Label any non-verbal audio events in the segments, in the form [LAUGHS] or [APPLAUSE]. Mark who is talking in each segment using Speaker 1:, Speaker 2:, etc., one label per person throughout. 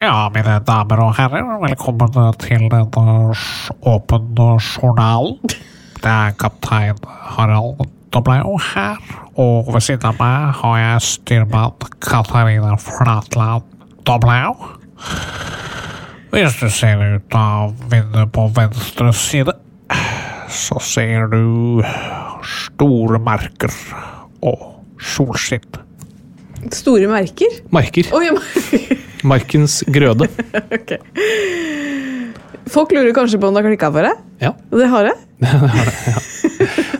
Speaker 1: Ja, mine damer og herrer, velkommen til denne s- åpne journalen. Det er kaptein Harald Dobleio her, og ved siden av meg har jeg styrmann Katarina Flatland Dobleio. Hvis du ser ut av vinduet på venstre side, så ser du store merker og solskinn.
Speaker 2: Store merker?
Speaker 3: Marker.
Speaker 2: Oi, [LAUGHS] mer-
Speaker 3: Markens grøde.
Speaker 2: ok. Folk lurer kanskje på om det har klikka for deg?
Speaker 3: Ja,
Speaker 2: Og det har det.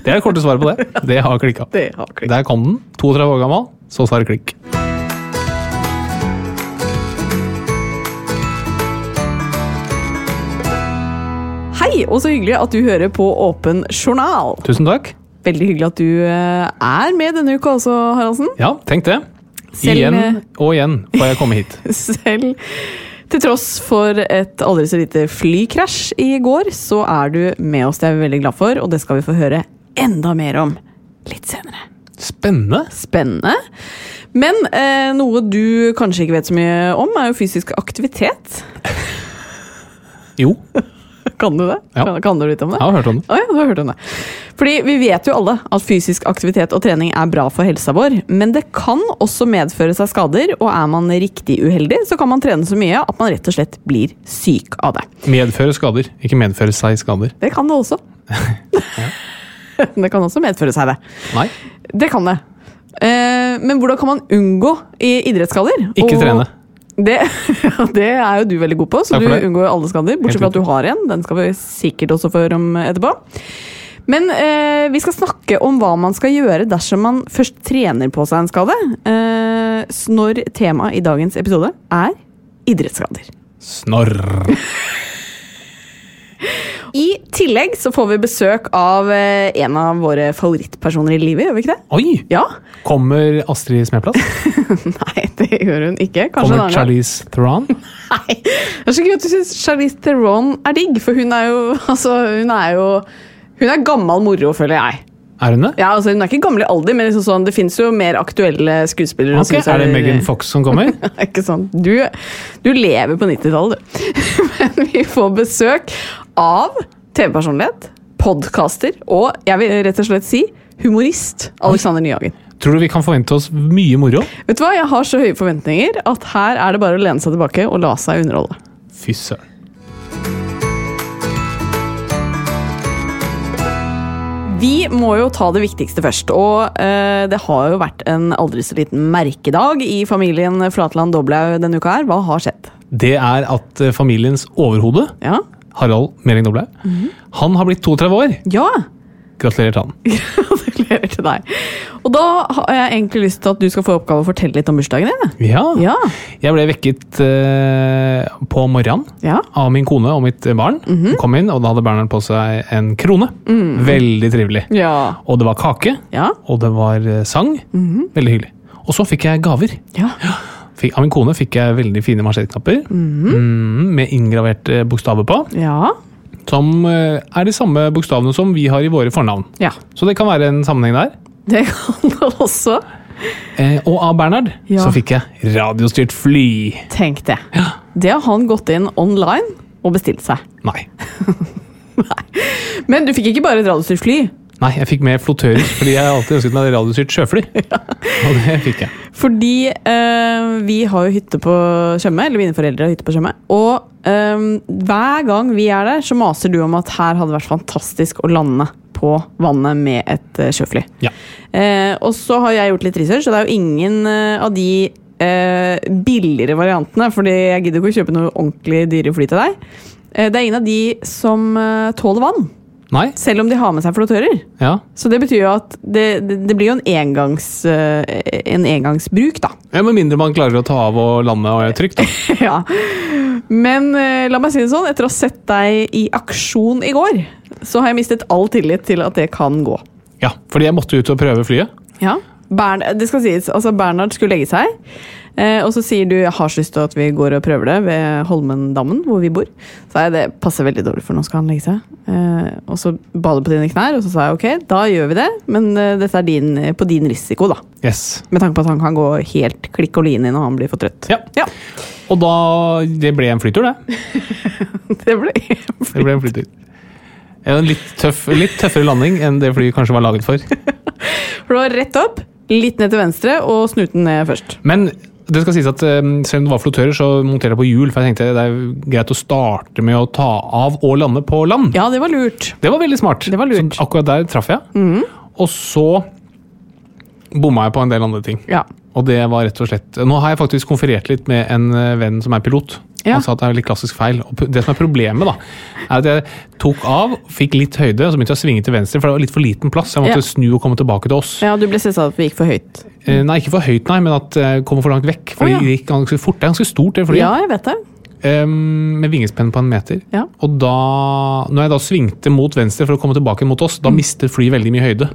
Speaker 3: Det er korte svaret på det. Det har klikka.
Speaker 2: Det har klikket.
Speaker 3: Der kom den. 32 år gammel, så svarer klikk.
Speaker 2: Hei, og så hyggelig at du hører på Åpen journal.
Speaker 3: Tusen takk.
Speaker 2: Veldig hyggelig at du eh, er med denne uka også, Haraldsen. [LAUGHS]
Speaker 3: Ja, tenk det.
Speaker 2: Selv-
Speaker 3: igjen og igjen får jeg komme
Speaker 2: [LAUGHS]
Speaker 3: hit.
Speaker 2: Selv til tross for et aldri så lite flykrasj i går, så er du med oss. Det er vi veldig glad for, og det skal vi få høre enda mer om litt senere.
Speaker 3: Spennende.
Speaker 2: Spennende. Men eh, noe du kanskje ikke vet så mye om, er jo fysisk aktivitet. [LAUGHS]
Speaker 3: Jo,
Speaker 2: Kan du det?
Speaker 3: Ja.
Speaker 2: Kan, kan du litt om det?
Speaker 3: jeg har hørt om det.
Speaker 2: Å ja, du har hørt om det. Fordi Vi vet jo alle at fysisk aktivitet og trening er bra for helsa vår, men det kan også medføre seg skader, og er man riktig uheldig, så kan man trene så mye at man rett og slett blir syk av det.
Speaker 3: Medføre skader, ikke medføre seg skader.
Speaker 2: Det kan det
Speaker 3: [LAUGHS]
Speaker 2: også. [LAUGHS] det kan også medføre seg det.
Speaker 3: Nei,
Speaker 2: Det kan det. Eh, men hvordan kan man unngå i idrettsskader?
Speaker 3: ikke
Speaker 2: Og-
Speaker 3: trene.
Speaker 2: Det, [LAUGHS] ja, det er jo du veldig god på, så
Speaker 3: Takk
Speaker 2: du
Speaker 3: for det.
Speaker 2: unngår alle skader. Bortsett fra
Speaker 3: Helt
Speaker 2: at du har en. Den skal vi sikkert også få høre om etterpå. Men eh, vi skal snakke om hva man skal gjøre dersom man først trener på seg en skade. Eh, s- når temaet i dagens episode er idrettsskader.
Speaker 3: Snorr.
Speaker 2: I tillegg så får vi besøk av eh, en av våre favorittpersoner i livet, gjør vi ikke det?
Speaker 3: Oi!
Speaker 2: Ja?
Speaker 3: Kommer Astrid Smeplass?
Speaker 2: [LAUGHS] Nei, det gjør hun ikke. [LAUGHS] Kanskje en
Speaker 3: Kommer
Speaker 2: annen gang.
Speaker 3: Charlize Theron?
Speaker 2: Nei. Det er så gøy at du syns Charlize Theron er digg, for hun er jo [LAUGHS] altså, Hun er jo Hun er gammel moro, føler jeg.
Speaker 3: Er hun det?
Speaker 2: Ja, altså, hun er ikke gammel i alder, men liksom sånn, det fins jo mer aktuelle skuespillere. og
Speaker 3: Ok,
Speaker 2: skuespillere.
Speaker 3: Er
Speaker 2: [LAUGHS]
Speaker 3: det Megan Fox som kommer?
Speaker 2: ikke sant? Du, du lever på 90-tallet, du. [LAUGHS] Men vi får besøk av TV-personlighet, podkaster og jeg vil rett og slett si humorist Alexander Nyhagen.
Speaker 3: Tror du vi kan forvente oss mye moro?
Speaker 2: Vet du hva, Jeg har så høye forventninger at her er det bare å lene seg tilbake og la seg underholde.
Speaker 3: Fy søren.
Speaker 2: Vi må jo ta det viktigste først. Og eh, det har jo vært en aldri så liten merkedag i familien Flatland Doblaug denne uka her. Hva har skjedd?
Speaker 3: Det er at eh, familiens overhode,
Speaker 2: Ja.
Speaker 3: Harald Meling Doblaug,
Speaker 2: Mhm.
Speaker 3: han har blitt 32 år.
Speaker 2: ja. [LAUGHS]
Speaker 3: Gratulerer til han.
Speaker 2: Gratulerer til deg. Og da har jeg egentlig lyst til at du skal få i oppgave å fortelle litt om bursdagen din. jeg.
Speaker 3: Ja.
Speaker 2: Ja.
Speaker 3: Jeg ble vekket eh, på morgenen
Speaker 2: Ja.
Speaker 3: av min kone og mitt barn.
Speaker 2: Mhm.
Speaker 3: Kom inn, og da hadde Bernhard på seg en krone. Veldig trivelig.
Speaker 2: Mm. Ja.
Speaker 3: Og det var kake,
Speaker 2: Ja. Mhm.
Speaker 3: og det var eh, sang. Veldig hyggelig. Og Og så fikk jeg gaver.
Speaker 2: Ja.
Speaker 3: Fikk, av min kone fikk jeg veldig fine marsjettknapper
Speaker 2: Mhm.
Speaker 3: mm, med inngraverte bokstaver på.
Speaker 2: Ja.
Speaker 3: Som eh, er de samme bokstavene som vi har i våre fornavn.
Speaker 2: ja.
Speaker 3: Så det kan være en sammenheng der.
Speaker 2: Det kan det også.
Speaker 3: Eh, og av Bernhard
Speaker 2: Ja.
Speaker 3: så fikk jeg radiostyrt fly.
Speaker 2: Tenk det. Det har han gått inn online og bestilt seg.
Speaker 3: Nei.
Speaker 2: Men du fikk ikke bare et radiostyrt fly,
Speaker 3: Nei, jeg fikk med flottører, fordi jeg har alltid ønsket meg radiostyrt sjøfly. Og det fikk jeg.
Speaker 2: fordi eh, vi har jo hytte på Tjøme, eller mine foreldre har hytte på Tjøme. Og eh, hver gang vi er der, så maser du om at her hadde det vært fantastisk å lande på vannet med et eh, sjøfly.
Speaker 3: Ja.
Speaker 2: Eh, og så har jeg gjort litt research, og det er jo ingen eh, av de eh, billigere variantene, fordi jeg gidder ikke å kjøpe noe ordentlig dyre fly til deg. Eh, det er ingen av de som eh, tåler vann,
Speaker 3: Nei?
Speaker 2: selv om de har med seg flottører.
Speaker 3: Ja.
Speaker 2: Så det betyr jo at det, det, det blir jo en, engangs, eh, en engangsbruk, da.
Speaker 3: ja. Med mindre man klarer å ta av og lande og er trygt, da.
Speaker 2: [LAUGHS] ja. Men eh, la meg si det sånn, etter å ha sett deg i aksjon i går, så har jeg mistet all tillit til at det kan gå.
Speaker 3: Ja, fordi jeg måtte ut og prøve flyet.
Speaker 2: Ja. Bern, det skal sies, altså Bernhard skulle legge seg, eh, og så sier du jeg har så lyst til at vi går og prøver det ved Holmendammen, hvor vi bor. Så sa jeg det passer veldig dårlig, for nå skal han legge seg. Eh, og så ba du på dine knær, og så sa jeg ok, da gjør vi det, men eh, dette er din, på din risiko, da.
Speaker 3: Yes.
Speaker 2: Med tanke på at han kan gå helt klikk og line når han blir for trøtt.
Speaker 3: Ja. Og da Det ble en flytur, det.
Speaker 2: [LAUGHS] Det ble
Speaker 3: Det ble en flytur. En litt, tøff, litt tøffere landing enn det flyet kanskje var laget for.
Speaker 2: For det var rett opp, litt ned til venstre, og snuten ned først.
Speaker 3: Men det skal sies at eh, selv om det var flottører, så monterte jeg på hjul. For jeg tenkte det er greit å starte med å ta av og lande på land.
Speaker 2: Ja, det var lurt.
Speaker 3: Det var veldig smart.
Speaker 2: Det var lurt. Mhm.
Speaker 3: Så akkurat der traff jeg. Og så bomma jeg på en del andre ting.
Speaker 2: Ja.
Speaker 3: Og det var rett og slett Nå har jeg faktisk konferert litt med en eh, venn som er pilot.
Speaker 2: Ja.
Speaker 3: Han sa at det er litt klassisk feil. Og p- det som er problemet, da, er at jeg tok av, fikk litt høyde, og så begynte jeg å svinge til venstre, for det var litt for liten plass. Jeg
Speaker 2: Ja.
Speaker 3: måtte snu og komme tilbake til oss.
Speaker 2: ja, du ble stressa at vi gikk for høyt.
Speaker 3: Eh, Nei, ikke for høyt, nei, men at jeg kommer for langt vekk. For
Speaker 2: Å, ja.
Speaker 3: det gikk ganske fort. Det er ganske stort, det flyet.
Speaker 2: Ja, jeg vet det.
Speaker 3: Eh, med vingespenn på en meter.
Speaker 2: Ja.
Speaker 3: Og da Når jeg da svingte mot venstre for å komme tilbake mot oss,
Speaker 2: Mm.
Speaker 3: da mistet flyet veldig mye høyde.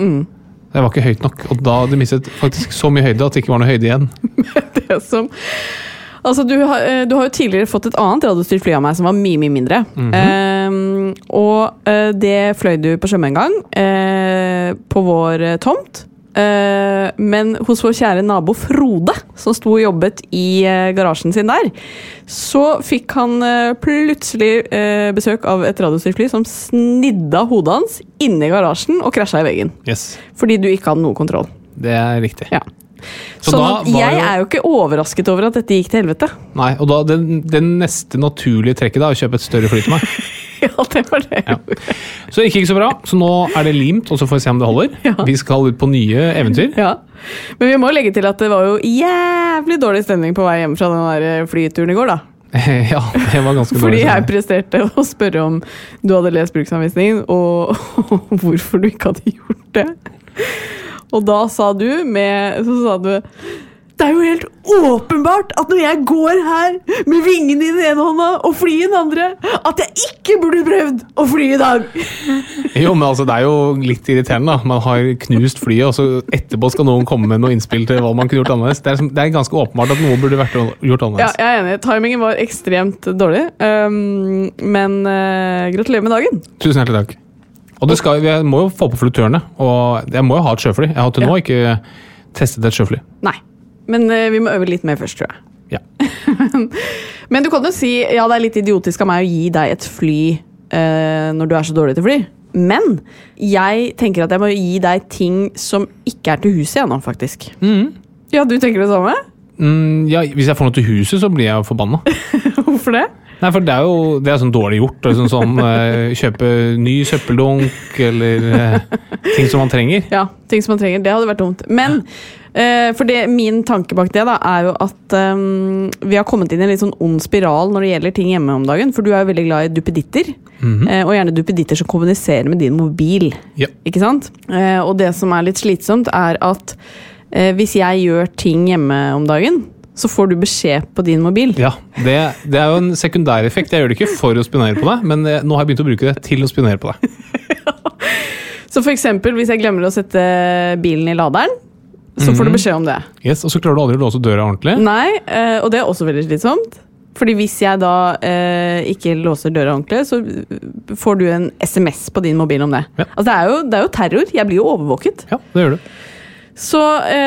Speaker 3: Det var ikke høyt nok, og da det mistet faktisk så mye høyde at det ikke var noe høyde
Speaker 2: [LAUGHS]
Speaker 3: igjen.
Speaker 2: det som Altså, du har, eh, du har jo tidligere fått et annet radiostyrt fly av meg som var mye, mye mindre. Eh, og eh, det fløy du på Tjøme en gang, eh, på vår eh, tomt. Eh, men hos vår kjære nabo Frode, som sto og jobbet i eh, garasjen sin der, så fikk han eh, plutselig eh, besøk av et radiostyrt fly som snidde av hodet hans inni garasjen og krasja i veggen.
Speaker 3: Yes,
Speaker 2: Fordi du ikke hadde noe kontroll.
Speaker 3: Det er riktig.
Speaker 2: Ja.
Speaker 3: Så
Speaker 2: sånn
Speaker 3: da
Speaker 2: at
Speaker 3: var
Speaker 2: jeg
Speaker 3: jo-
Speaker 2: er jo ikke overrasket over at dette gikk til helvete. [LAUGHS]
Speaker 3: Nei, og da det, det neste naturlige trekket da, er å kjøpe et større fly
Speaker 2: [LAUGHS]
Speaker 3: til meg.
Speaker 2: Ja, det var det.
Speaker 3: Ja. Så det gikk ikke så bra, så nå er det limt, og så får vi se om det holder.
Speaker 2: Ja.
Speaker 3: Vi skal ut på nye eventyr.
Speaker 2: [LAUGHS] Ja. Men vi må legge til at det var jo jævlig dårlig stemning på vei hjem fra den der eh, flyturen i går, da.
Speaker 3: [LAUGHS] Ja, det var ganske
Speaker 2: Fordi
Speaker 3: dårlig.
Speaker 2: jeg
Speaker 3: stemning.
Speaker 2: presterte å spørre om du hadde lest bruksanvisningen, og, [LAUGHS] og hvorfor du ikke hadde gjort det. Og da sa du med Så sa du det er jo helt åpenbart at når jeg går her med vingene i den ene hånda og flyet i den andre, at jeg ikke burde prøvd å fly i dag!
Speaker 3: [LAUGHS] Jo, men altså, Det er jo litt irriterende. da. Man har knust flyet, og så etterpå skal noen komme med noe innspill til hva man kunne gjort annerledes. Det er, som- det er ganske åpenbart at noe burde vært gjort
Speaker 2: Ja,
Speaker 3: annerledes.
Speaker 2: jeg er enig. Timingen var ekstremt dårlig. Um, men eh, gratulerer med dagen.
Speaker 3: Tusen hjertelig takk. Og det skal, Jeg må jo få på flutørene, og jeg må jo ha et sjøfly. Jeg har til nå ikke testet et sjøfly.
Speaker 2: Nei. Men eh, vi må øve litt mer først, tror jeg.
Speaker 3: Ja.
Speaker 2: Men du kan jo si ja, det er litt idiotisk av meg å gi deg et fly eh, når du er så dårlig til fly. Men jeg tenker at jeg må gi deg ting som ikke er til huset ennå, faktisk. Ja, du tenker det samme? [LAUGHS]
Speaker 3: Mm, ja, hvis jeg får noe til huset, så blir jeg jo forbanna.
Speaker 2: Hvorfor det?
Speaker 3: Nei, for det er jo det er sånn dårlig gjort. og Liksom sånn, eh, kjøpe ny søppeldunk eller eh, ting som man trenger.
Speaker 2: Ja, ting som man trenger. Det hadde vært dumt. Men eh, for det, min tanke bak det da, er jo at ehm, vi har kommet inn i en litt sånn ond spiral når det gjelder ting hjemme om dagen. For du er jo veldig glad i duppeditter, eh, og gjerne duppeditter som kommuniserer med din mobil.
Speaker 3: Mhm. Ja.
Speaker 2: Ikke sant? Eh, og det som er litt slitsomt, er at eh, hvis jeg gjør ting hjemme om dagen, så får du beskjed på din mobil.
Speaker 3: Ja, det, det er jo en sekundæreffekt. Jeg gjør det ikke for å spionere på deg, men eh, nå har jeg begynt å bruke det til å spionere på deg.
Speaker 2: Så for eksempel, hvis jeg glemmer å sette bilen i laderen, så får du
Speaker 3: Mhm.
Speaker 2: beskjed om det.
Speaker 3: Yes, og så klarer du aldri å låse døra ordentlig.
Speaker 2: Nei, eh, og det er også veldig slitsomt. Fordi hvis jeg da eh, ikke låser døra ordentlig, så eh, får du en SMS på din mobil om det.
Speaker 3: Ja.
Speaker 2: Altså, det, er jo, det er jo terror. Jeg blir jo overvåket.
Speaker 3: Ja, det gjør du.
Speaker 2: Så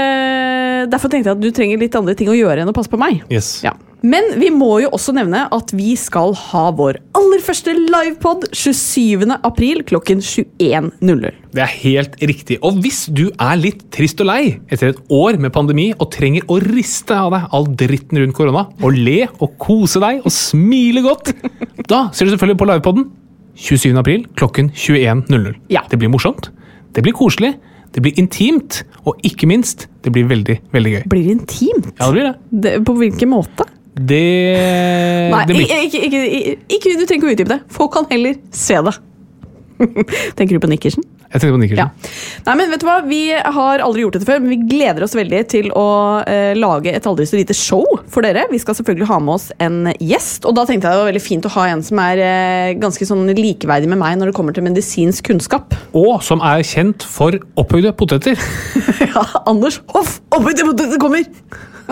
Speaker 2: eh, derfor tenkte jeg at du trenger litt andre ting å gjøre enn å passe på meg.
Speaker 3: Yes.
Speaker 2: Ja. Men vi må jo også nevne at vi skal ha vår aller første livepod 27. april klokken 21.00.
Speaker 3: Det er helt riktig. Og hvis du er litt trist og lei etter et år med pandemi og trenger å riste av deg all dritten rundt korona, og le og kose deg og smile godt, da ser du selvfølgelig på Livepoden 27. april klokken 21.00.
Speaker 2: Ja.
Speaker 3: Det blir morsomt, det blir koselig, det blir intimt, og ikke minst, det blir veldig, veldig gøy.
Speaker 2: Blir det intimt?
Speaker 3: Ja, det blir det.
Speaker 2: Det, på hvilken måte?
Speaker 3: Det,
Speaker 2: Nei,
Speaker 3: Eh, det blir
Speaker 2: ikke, ikke, ikke, ikke, du trenger ikke å utdype det. Folk kan heller se det. [LAUGHS] Tenker du på nikkersen?
Speaker 3: Jeg tenkte på Nikkersen.
Speaker 2: Ja. Nei, men vet du hva? Vi har aldri gjort dette før, men vi gleder oss veldig til å eh, lage et aldri så lite show for dere. Vi skal selvfølgelig ha med oss en gjest, og da tenkte jeg det var veldig fint å ha en som er eh, ganske sånn likeverdig med meg når det kommer til medisinsk kunnskap. [LAUGHS]
Speaker 3: Og som er kjent for opphøyde poteter.
Speaker 2: ja, Anders Hoff! Oppi det det kommer!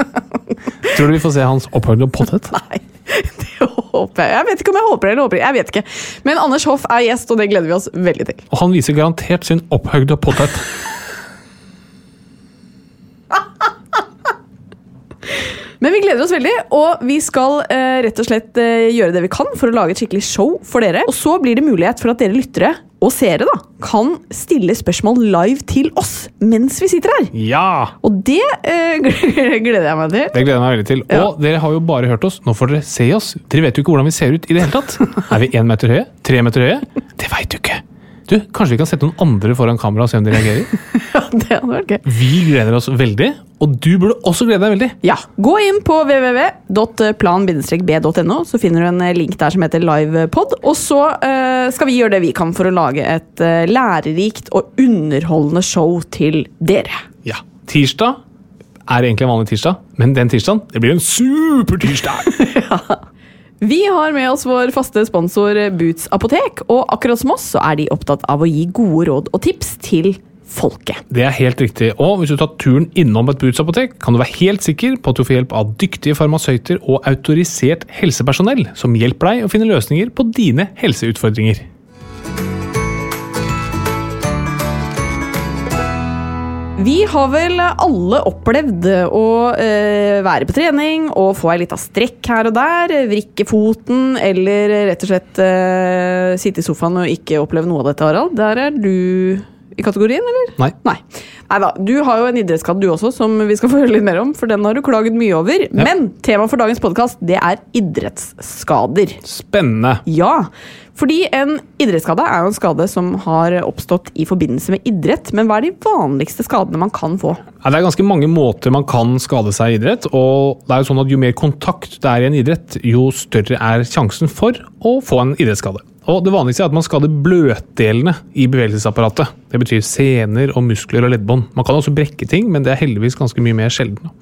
Speaker 2: [LAUGHS]
Speaker 3: Tror du vi får se hans opphøyde potet?
Speaker 2: Nei, [LAUGHS] det håper jeg. Jeg vet ikke om jeg håper det eller håper det. Jeg vet ikke. Men Anders Hoff er gjest, og det gleder vi oss veldig til.
Speaker 3: Og han viser garantert sin opphøyde potet.
Speaker 2: Men vi gleder oss veldig, og vi skal eh, rett og slett eh, gjøre det vi kan for å lage et skikkelig show for dere. Og så blir det mulighet for at dere lyttere og seere da, kan stille spørsmål live til oss mens vi sitter her.
Speaker 3: Ja!
Speaker 2: Og det eh, [LAUGHS] gleder jeg meg til.
Speaker 3: Det gleder jeg meg veldig til. Og dere har jo bare hørt oss. Nå får dere se oss. Dere vet jo ikke hvordan vi ser ut i det hele tatt. Er vi én meter høye? Tre meter høye? Det veit du ikke. Du, Kanskje vi kan sette noen andre foran kamera og se om de reagerer?
Speaker 2: Ja, det hadde vært gøy.
Speaker 3: Vi gleder oss veldig, og du burde også glede deg veldig.
Speaker 2: Ja, Gå inn på www.plan-b.no, så finner du en eh, link der som heter Livepod. Og så eh, skal vi gjøre det vi kan for å lage et eh, lærerikt og underholdende show til dere.
Speaker 3: Ja. Tirsdag er egentlig en vanlig tirsdag, men den tirsdagen det blir en supertirsdag!
Speaker 2: Vi har med oss vår faste sponsor eh, Boots apotek, og akkurat som oss så er de opptatt av å gi gode råd og tips til folket.
Speaker 3: Det er helt riktig. Og hvis du tar turen innom et Boots apotek, kan du være helt sikker på at du får hjelp av dyktige farmasøyter og autorisert helsepersonell som hjelper deg å finne løsninger på dine helseutfordringer.
Speaker 2: Vi har vel alle opplevd å eh, være på trening og få ei lita strekk her og der, vrikke foten eller rett og slett eh, sitte i sofaen og ikke oppleve noe av dette, Harald. Der er du i kategorien, eller?
Speaker 3: Nei.
Speaker 2: Nei. Neida, Du har jo en idrettsskade du også, som vi skal få høre litt mer om. For den har du klaget mye over. Men temaet for dagens podkast er idrettsskader.
Speaker 3: Spennende.
Speaker 2: Ja, fordi en idrettsskade er jo en skade som har oppstått i forbindelse med idrett. Men hva er de vanligste skadene man kan få?
Speaker 3: Ja, det er ganske mange måter man kan skade seg i idrett. og det er Jo sånn at jo mer kontakt det er i en idrett, jo større er sjansen for å få en idrettsskade. Og Det vanligste er at man skader bløtdelene i bevegelsesapparatet. Det betyr sener, og muskler og leddbånd. Man kan også brekke ting, men det er heldigvis ganske mye mer sjelden.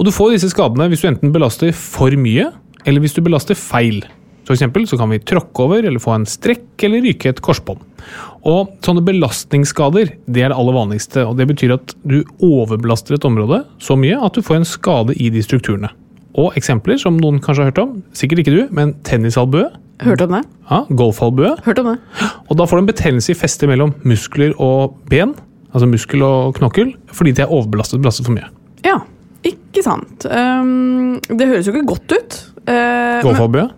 Speaker 3: Og Du får disse skadene hvis du enten belaster for mye, eller hvis du belaster feil. For eksempel så kan vi tråkke over, eller få en strekk eller ryke et korsbånd. Og Sånne belastningsskader det er det aller vanligste. og Det betyr at du overbelaster et område så mye at du får en skade i de strukturene. Og Eksempler som noen kanskje har hørt om, sikkert ikke du, men tennisalbue,
Speaker 2: Hørt om det?
Speaker 3: ja, golfalbue.
Speaker 2: Hørt om det.
Speaker 3: Og Da får du en betennelse i festet mellom muskler og ben, altså muskel og knokkel, fordi de er overbelastet belastet for mye.
Speaker 2: Ja, ikke sant. Ehm, det høres jo ikke godt ut. Eh, men-
Speaker 3: Golfalbue?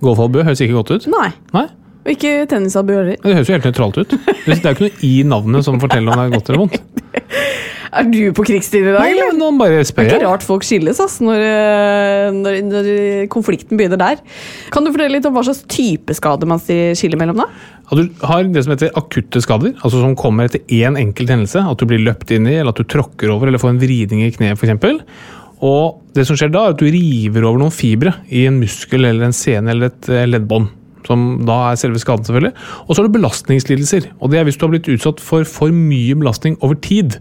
Speaker 3: Golfalbue høres ikke godt ut.
Speaker 2: Nei,
Speaker 3: Nei?
Speaker 2: og ikke tennisalbue heller.
Speaker 3: Men Det høres jo helt nøytralt ut. Det er jo ikke noe i navnet som forteller om det er godt eller vondt.
Speaker 2: Er du på krigsstid i dag,
Speaker 3: Nei,
Speaker 2: eller?
Speaker 3: men nå bare spør
Speaker 2: Det er
Speaker 3: jeg.
Speaker 2: ikke rart folk skilles ass, når, eh, når, når konflikten begynner der. Kan du fortelle litt om hva slags type skade man skiller mellom, da?
Speaker 3: At du har det som heter akutte skader, altså som kommer etter én enkelt hendelse. At du blir løpt inn i, eller at du tråkker over, eller får en vridning i kneet f.eks. Og det som skjer da, er at du river over noen fibre i en muskel eller en sene eller et eh, leddbånd. Som da er selve skaden, selvfølgelig. Og så har du belastningslidelser. Og det er hvis du har blitt utsatt for for mye belastning over tid.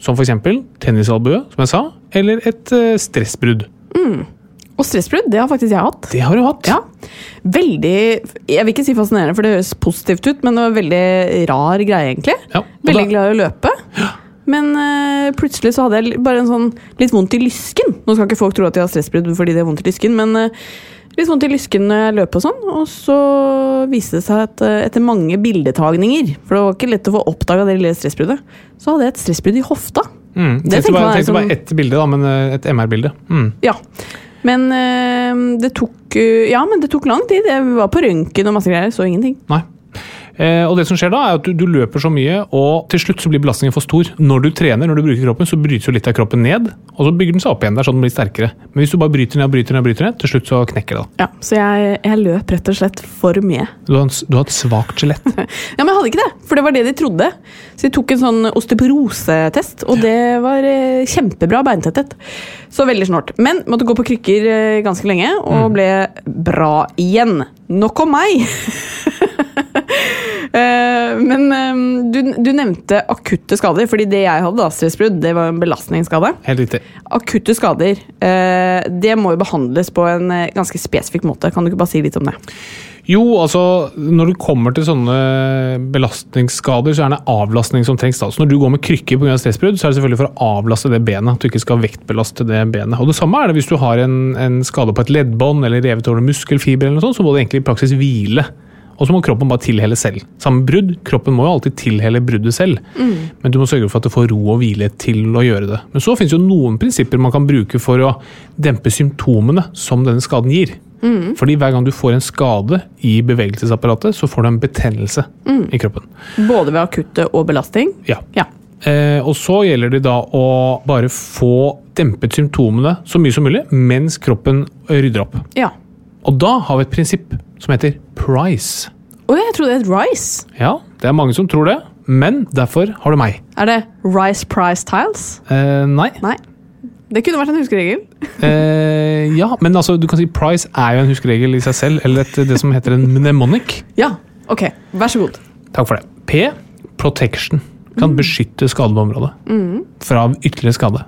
Speaker 3: Som f.eks. tennisalbue, som jeg sa, eller et eh, stressbrudd.
Speaker 2: Og stressbrudd, det har faktisk jeg hatt.
Speaker 3: Det har du hatt.
Speaker 2: Ja. Veldig Jeg vil ikke si fascinerende, for det høres positivt ut, men det var en veldig rar greie, egentlig.
Speaker 3: Ja, og
Speaker 2: Veldig
Speaker 3: da-
Speaker 2: glad i å løpe. Men eh, plutselig så hadde jeg l- bare en sånn litt vondt i lysken. Nå skal ikke folk tro at de har stressbrudd fordi de har vondt i lysken, men eh, litt vondt i lysken når jeg løp og sånn. Og så viste det seg at eh, etter mange bildetagninger, for det var ikke lett å få oppdaga det lille stressbruddet, så hadde jeg et stressbrudd i hofta.
Speaker 3: Mm.
Speaker 2: Det
Speaker 3: tenkte
Speaker 2: tenker
Speaker 3: bare,
Speaker 2: man er
Speaker 3: tenkte
Speaker 2: som-
Speaker 3: bare ett bilde, da, men eh, et MR-bilde. Mm.
Speaker 2: Ja. Men eh, det tok eh, Ja, men det tok lang tid. Jeg var på røntgen og masse greier, så ingenting.
Speaker 3: Nei. Eh, og det som skjer da, er at du, du løper så mye, og til slutt så blir belastningen for stor. Når du trener, når du bruker kroppen, så brytes jo litt av kroppen ned, og så bygger den seg opp igjen. der, så den blir sterkere. Men hvis du bare bryter ned og bryter ned, og bryter ned, til slutt så knekker det. da.
Speaker 2: Ja, Så jeg, jeg løp rett og slett for mye.
Speaker 3: Du har, en s- du har et svakt
Speaker 2: [LAUGHS]
Speaker 3: skjelett.
Speaker 2: Ja, men jeg hadde ikke det, for det var det de trodde. Så de tok en sånn osteoporosetest, og det var eh, kjempebra beintetthet. Så veldig snålt. Men måtte gå på krykker eh, ganske lenge, og ble bra igjen. Nok om meg! [LAUGHS] Eh, Men eh, du, du nevnte akutte skader, fordi det jeg hadde, da, stressbrudd, det var en belastningsskade.
Speaker 3: Helt riktig.
Speaker 2: Akutte skader, eh, det må jo behandles på en eh, ganske spesifikk måte. Kan du ikke bare si litt om det?
Speaker 3: Jo, altså, når du kommer til sånne belastningsskader, så er det avlastning som trengs. da. Så når du går med krykke pga. stressbrudd, så er det selvfølgelig for å avlaste det benet. At du ikke skal vektbelaste det benet. Og Det samme er det hvis du har en, en skade på et leddbånd eller revet over en muskelfiber, eller noe sånt, så må du egentlig i praksis hvile. Og så må kroppen bare tilhelle selv. Samme brudd, kroppen må jo alltid tilhelle bruddet selv. Men du må sørge for at du får ro og hvile til å gjøre det. Men så finnes jo noen prinsipper man kan bruke for å dempe symptomene som denne skaden gir. Fordi hver gang du får en skade i bevegelsesapparatet, så får du en betennelse i kroppen.
Speaker 2: Både ved akutte og belasting?
Speaker 3: Ja.
Speaker 2: Ja.
Speaker 3: Eh, og så gjelder det da å bare få dempet symptomene så mye som mulig mens kroppen rydder opp.
Speaker 2: ja.
Speaker 3: Og da har vi et prinsipp som heter price.
Speaker 2: Å, jeg trodde det het Rice.
Speaker 3: Ja, det er mange som tror det, men derfor har du meg.
Speaker 2: Er det Rice Price Tiles?
Speaker 3: Eh, nei.
Speaker 2: Nei. Det kunne vært en huskeregel.
Speaker 3: Eh, ja, men altså, du kan si price er jo en huskeregel i seg selv, eller et, det som heter en mnemonic.
Speaker 2: Ja, ok. Vær så god.
Speaker 3: Takk for det. P. Protection. Kan beskytte skadede område fra ytterligere skade.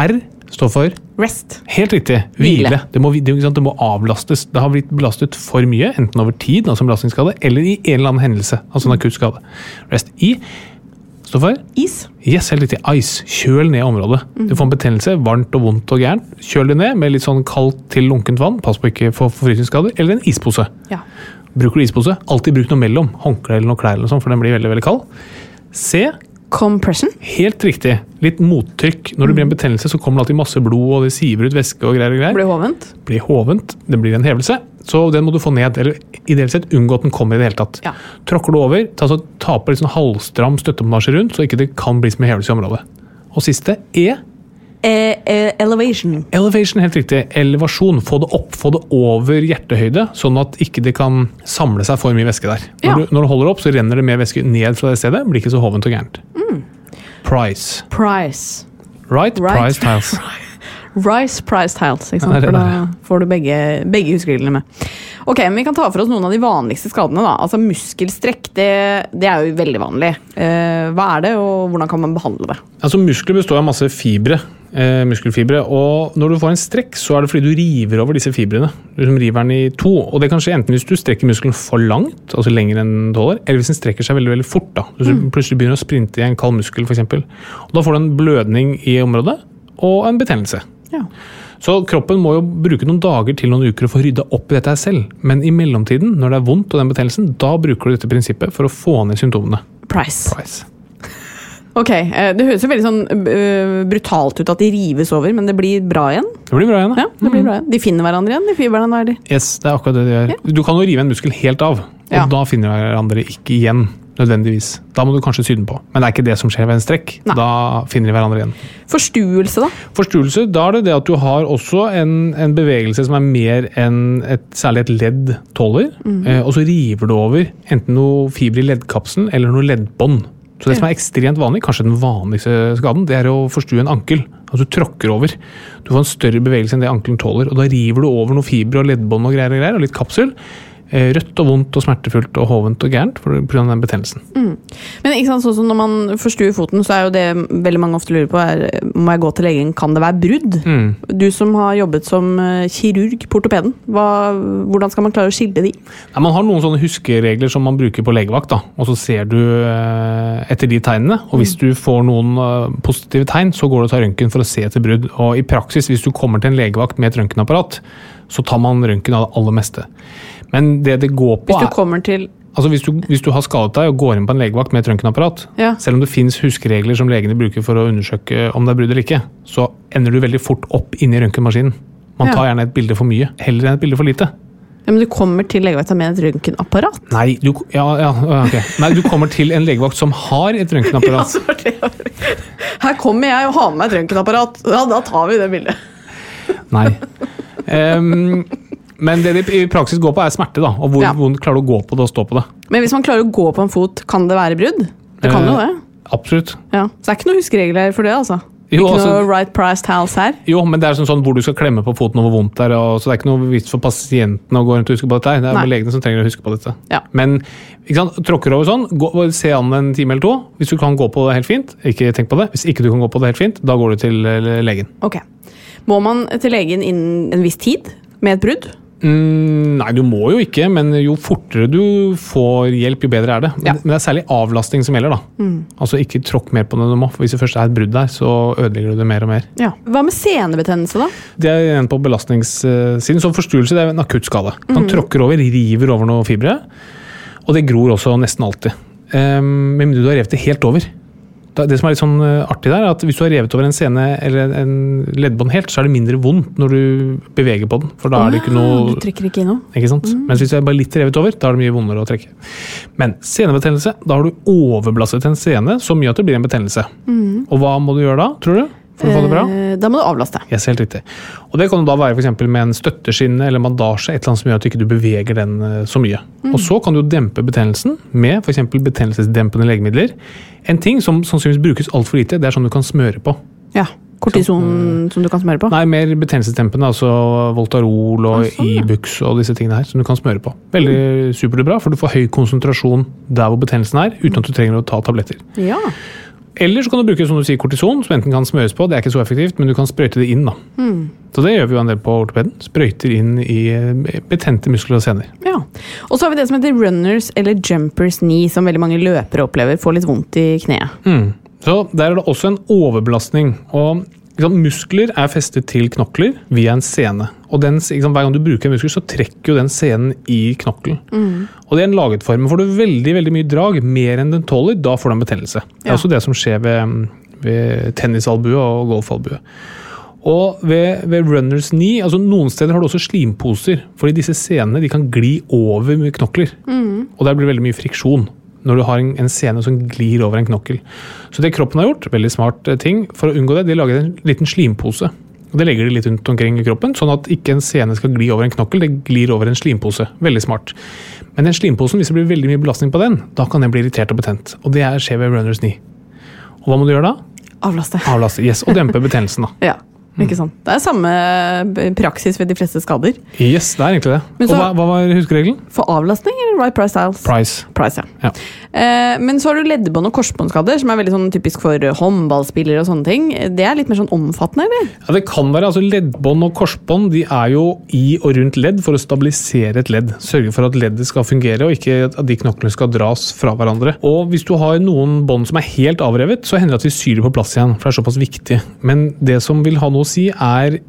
Speaker 3: R står for
Speaker 2: Rest.
Speaker 3: Helt riktig.
Speaker 2: Hvile.
Speaker 3: Hvile. Det, må, vi- det, er jo ikke sant, det må avlastes. Det har blitt belastet for mye, enten over tid, altså en belastningsskade, eller i en eller annen hendelse, altså en akutt skade. Rest I står for
Speaker 2: Is.
Speaker 3: Yes, helt riktig. Ice. Kjøl ned området. Du får en betennelse, varmt og vondt og gærent. Kjøl det ned med litt sånn kaldt til lunkent vann. Pass på ikke å få forfrysningsskader. Eller en ispose.
Speaker 2: Ja.
Speaker 3: Bruker du ispose, alltid bruk noe mellom. Håndkle eller noe klær, eller noe sånt, for den blir veldig veldig kald. C.
Speaker 2: Compression.
Speaker 3: Helt riktig. Litt mottrykk. Når det blir en betennelse, så kommer det alltid masse blod, og det siver ut væske og greier. og greier.
Speaker 2: Ble hovent.
Speaker 3: Blir hovent. Det blir en hevelse. Så den må du få ned. Eller ideelt sett unngå at den kommer i det hele tatt.
Speaker 2: Ja.
Speaker 3: Tråkker du over, ta, så, ta på litt sånn halvstram støttemonasje rundt, så ikke det kan bli som en hevelse i området. Og siste E.
Speaker 2: Eh, eh, elevation.
Speaker 3: Elevation, helt riktig. Elevasjon. Få det opp, få det over hjertehøyde, sånn at ikke det kan samle seg for mye væske der. Når,
Speaker 2: Ja.
Speaker 3: du, når du holder opp, så renner det mer væske ned fra det stedet. Blir ikke så hovent og gærent. Price.
Speaker 2: Price.
Speaker 3: Right?
Speaker 2: Mm. Right.
Speaker 3: Price
Speaker 2: [LAUGHS]
Speaker 3: tiles.
Speaker 2: Rice Price Tiles. Ikke
Speaker 3: Ja,
Speaker 2: sant?
Speaker 3: det er
Speaker 2: For
Speaker 3: det,
Speaker 2: da får du begge, begge huskereglene med. Ok, men Vi kan ta for oss noen av de vanligste skadene. da. Altså Muskelstrekk det, det er jo veldig vanlig. Eh, hva er det, og hvordan kan man behandle det?
Speaker 3: Altså, muskler består av masse fibre, eh, muskelfibre, og når du får en strekk, så er det fordi du river over disse fibrene. Du liksom river den i to, og det kan skje enten hvis du strekker muskelen for langt, altså lenger enn den tåler, eller hvis den strekker seg veldig veldig fort. da. Hvis du plutselig begynner å sprinte i en kald muskel, f.eks. Da får du en blødning i området, og en betennelse.
Speaker 2: Ja.
Speaker 3: Så kroppen må jo bruke noen dager til noen uker å få rydda opp i dette her selv. Men i mellomtiden, når det er vondt og den betennelsen, da bruker du dette prinsippet for å få ned symptomene.
Speaker 2: Price.
Speaker 3: Price.
Speaker 2: Ok, eh, Det høres jo veldig sånn eh, brutalt ut at de rives over, men det blir bra igjen.
Speaker 3: Det blir bra igjen, da.
Speaker 2: Ja, det blir bra igjen. De finner hverandre igjen, de fibrene der. de.
Speaker 3: Yes, det er akkurat det de gjør. Du kan jo rive en muskel helt av, og
Speaker 2: Ja.
Speaker 3: da finner hverandre ikke igjen. nødvendigvis. Da må du kanskje sy den på, men det er ikke det som skjer ved en strekk.
Speaker 2: Nei.
Speaker 3: Da finner de hverandre igjen.
Speaker 2: Forstuelse, da.
Speaker 3: Forstuelse, da er det det at du har også en, en bevegelse som er mer enn et, særlig et ledd tåler, eh, og så river du over enten noe fiber i leddkapselen eller noe leddbånd. Så det som er ekstremt vanlig, kanskje den vanligste skaden, det er å forstue en ankel. At du tråkker over. Du får en større bevegelse enn det ankelen tåler, og da river du over noe fiber og leddbånd og greier og greier, og litt kapsel. eh, rødt og vondt og smertefullt og hovent og gærent pga. den betennelsen.
Speaker 2: Men ikke sant, sånn som når man forstuer foten, så er jo det veldig mange ofte lurer på, er må jeg gå til legen, kan det være brudd?
Speaker 3: Mm.
Speaker 2: Du som har jobbet som eh, kirurg på ortopeden, hva, hvordan skal man klare å skille de?
Speaker 3: Nei, man har noen sånne huskeregler som man bruker på legevakt, da. og så ser du eh, etter de tegnene. Og
Speaker 2: Mm.
Speaker 3: hvis du får noen eh, positive tegn, så går du og tar røntgen for å se etter brudd. Og i praksis, hvis du kommer til en legevakt med et røntgenapparat, så tar man røntgen av det aller meste. Men det det går på
Speaker 2: Hvis du
Speaker 3: er-
Speaker 2: kommer til
Speaker 3: Altså hvis du, hvis du har skadet deg og går inn på en legevakt med et røntgenapparat,
Speaker 2: Ja.
Speaker 3: selv om det finnes huskeregler som legene bruker for å undersøke om det er brudd eller ikke, så ender du veldig fort opp inni røntgenmaskinen. Man
Speaker 2: Ja.
Speaker 3: tar gjerne et bilde for mye, heller enn et bilde for lite.
Speaker 2: ja, men du kommer til legevakta med et røntgenapparat.
Speaker 3: Nei, du, ja, ja, ok. Nei, du kommer til en legevakt som har et røntgenapparat.
Speaker 2: [LAUGHS] Altså, det var- Her kommer jeg og har med meg et røntgenapparat. Ja, da tar vi det bildet.
Speaker 3: Nei. Ehm, men det det i praksis går på, er smerte. da, Og hvor
Speaker 2: Ja.
Speaker 3: vondt klarer du å gå på det og stå på det.
Speaker 2: Men hvis man klarer å gå på en fot, kan det være brudd? Det kan jo
Speaker 3: Eh,
Speaker 2: det.
Speaker 3: Absolutt.
Speaker 2: Ja. Så det er ikke noen huskeregler for det, altså.
Speaker 3: Jo,
Speaker 2: ikke noe
Speaker 3: altså-
Speaker 2: right priced house her.
Speaker 3: Jo, men det er sånn, sånn hvor du skal klemme på foten og hvor vondt det er. Og, så det er ikke noe vits for pasientene å gå rundt og huske på dette. her. Det er
Speaker 2: Nei.
Speaker 3: bare legene som trenger å huske på dette.
Speaker 2: Ja.
Speaker 3: Men ikke sant, tråkker over sånn, gå, se an en time eller to. Hvis du kan gå på det helt fint, ikke tenk på det. Hvis ikke du kan gå på det helt fint, da går du til eh, legen.
Speaker 2: Ok. Må man til legen innen en viss tid med et brudd?
Speaker 3: Mm, nei, du må jo ikke, men jo fortere du får hjelp, jo bedre er det. Men,
Speaker 2: Ja.
Speaker 3: men det er særlig avlastning som gjelder, da. Altså ikke tråkk mer på det du må, for hvis det først er et brudd der, så ødelegger du det mer og mer.
Speaker 2: Ja. Hva med senebetennelse, da?
Speaker 3: Det er igjen på belastningssiden. Så forstuelse det er en akutt skade. Man tråkker over, river over noen fibre. Og det gror også nesten alltid. Um, med mindre du har revet det helt over. Da- Det som er litt sånn eh, artig der, er at Hvis du har revet over en sene eller en- en leddbånd helt, så er det mindre vondt når du beveger på den. For da er det ikke
Speaker 2: Du
Speaker 3: noe
Speaker 2: trykker ikke i noe?
Speaker 3: ikke sant? Mens hvis det er bare litt revet over, da er det mye vondere å trekke. Men senebetennelse, da har du overblastet en sene så mye at det blir en betennelse. Og hva må du gjøre da, tror du? For å få det bra?
Speaker 2: Eh, Da må du avlaste.
Speaker 3: Yes, helt riktig. Og Det kan jo da være for eksempel med en støtteskinne eller bandasje, et eller annet som gjør at du ikke beveger den eh, så mye. Og Så kan du dempe betennelsen med for eksempel betennelsesdempende legemidler. En ting som sannsynligvis brukes altfor lite, det er sånn du kan smøre på.
Speaker 2: Ja. Kortison
Speaker 3: Mm.
Speaker 2: som du kan smøre på?
Speaker 3: Nei, mer betennelsesdempende, altså Voltarol og Ibux og disse tingene her, som du kan smøre på. Veldig superbra, for du får høy konsentrasjon der hvor betennelsen er, uten at du trenger å ta tabletter.
Speaker 2: Ja.
Speaker 3: Eller så kan du bruke som du sier, kortison, som enten kan smøres på, det er ikke så effektivt, men du kan sprøyte det inn. da. Så det gjør vi jo en del på ortopeden. Sprøyter inn i eh, betente muskler og sener.
Speaker 2: ja. Og så har vi det som heter runners eller jumpers knee, som veldig mange løpere opplever. Får litt vondt i kneet.
Speaker 3: Mm. Så der er det også en overbelastning. og ikke sant, Muskler er festet til knokler via en sene. Og den, ikke sant, Hver gang du bruker en muskel, så trekker jo den senen i knokkelen. Og det er en laget form. Får du veldig veldig mye drag, mer enn den tåler, da får du en betennelse. Det er
Speaker 2: Ja.
Speaker 3: også det som skjer ved, mm, ved tennisalbue og golfalbue. Og ved, ved runners knee, altså noen steder har du også slimposer, fordi disse senene de kan gli over med knokler. Og der blir det veldig mye friksjon når du har en, en sene som glir over en knokkel. Så det kroppen har gjort, veldig smart eh, ting, for å unngå det, de lager en liten slimpose. Og Det legger de litt rundt omkring i kroppen, sånn at ikke en sene skal gli over en knokkel, det glir over en slimpose. Veldig smart. Men den slimposen, hvis det blir veldig mye belastning på den, da kan den bli irritert og betent. Og det er- skjer ved runners knee. Og hva må du gjøre da?
Speaker 2: Avlaste.
Speaker 3: Avlaste. Yes, og dempe betennelsen, da.
Speaker 2: Ja,
Speaker 3: Mm.
Speaker 2: ikke sant. Det er samme eh, praksis ved de fleste skader.
Speaker 3: Yes, det er egentlig det.
Speaker 2: Men så-
Speaker 3: og hva, hva var huskeregelen?
Speaker 2: For avlastning eller right price styles?
Speaker 3: Price.
Speaker 2: Price, ja.
Speaker 3: Ja.
Speaker 2: Eh, men så har du leddbånd og korsbåndskader, som er veldig sånn typisk for eh, håndballspillere. og sånne ting. Det er litt mer sånn omfattende, eller?
Speaker 3: Ja, det kan være, altså Leddbånd og korsbånd de er jo i og rundt ledd for å stabilisere et ledd. Sørge for at leddet skal fungere, og ikke at de knoklene skal dras fra hverandre. Og Hvis du har noen bånd som er helt avrevet, så hender det at vi syr det på plass igjen. for det er såpass viktig. Men det som vil ha noe å si, er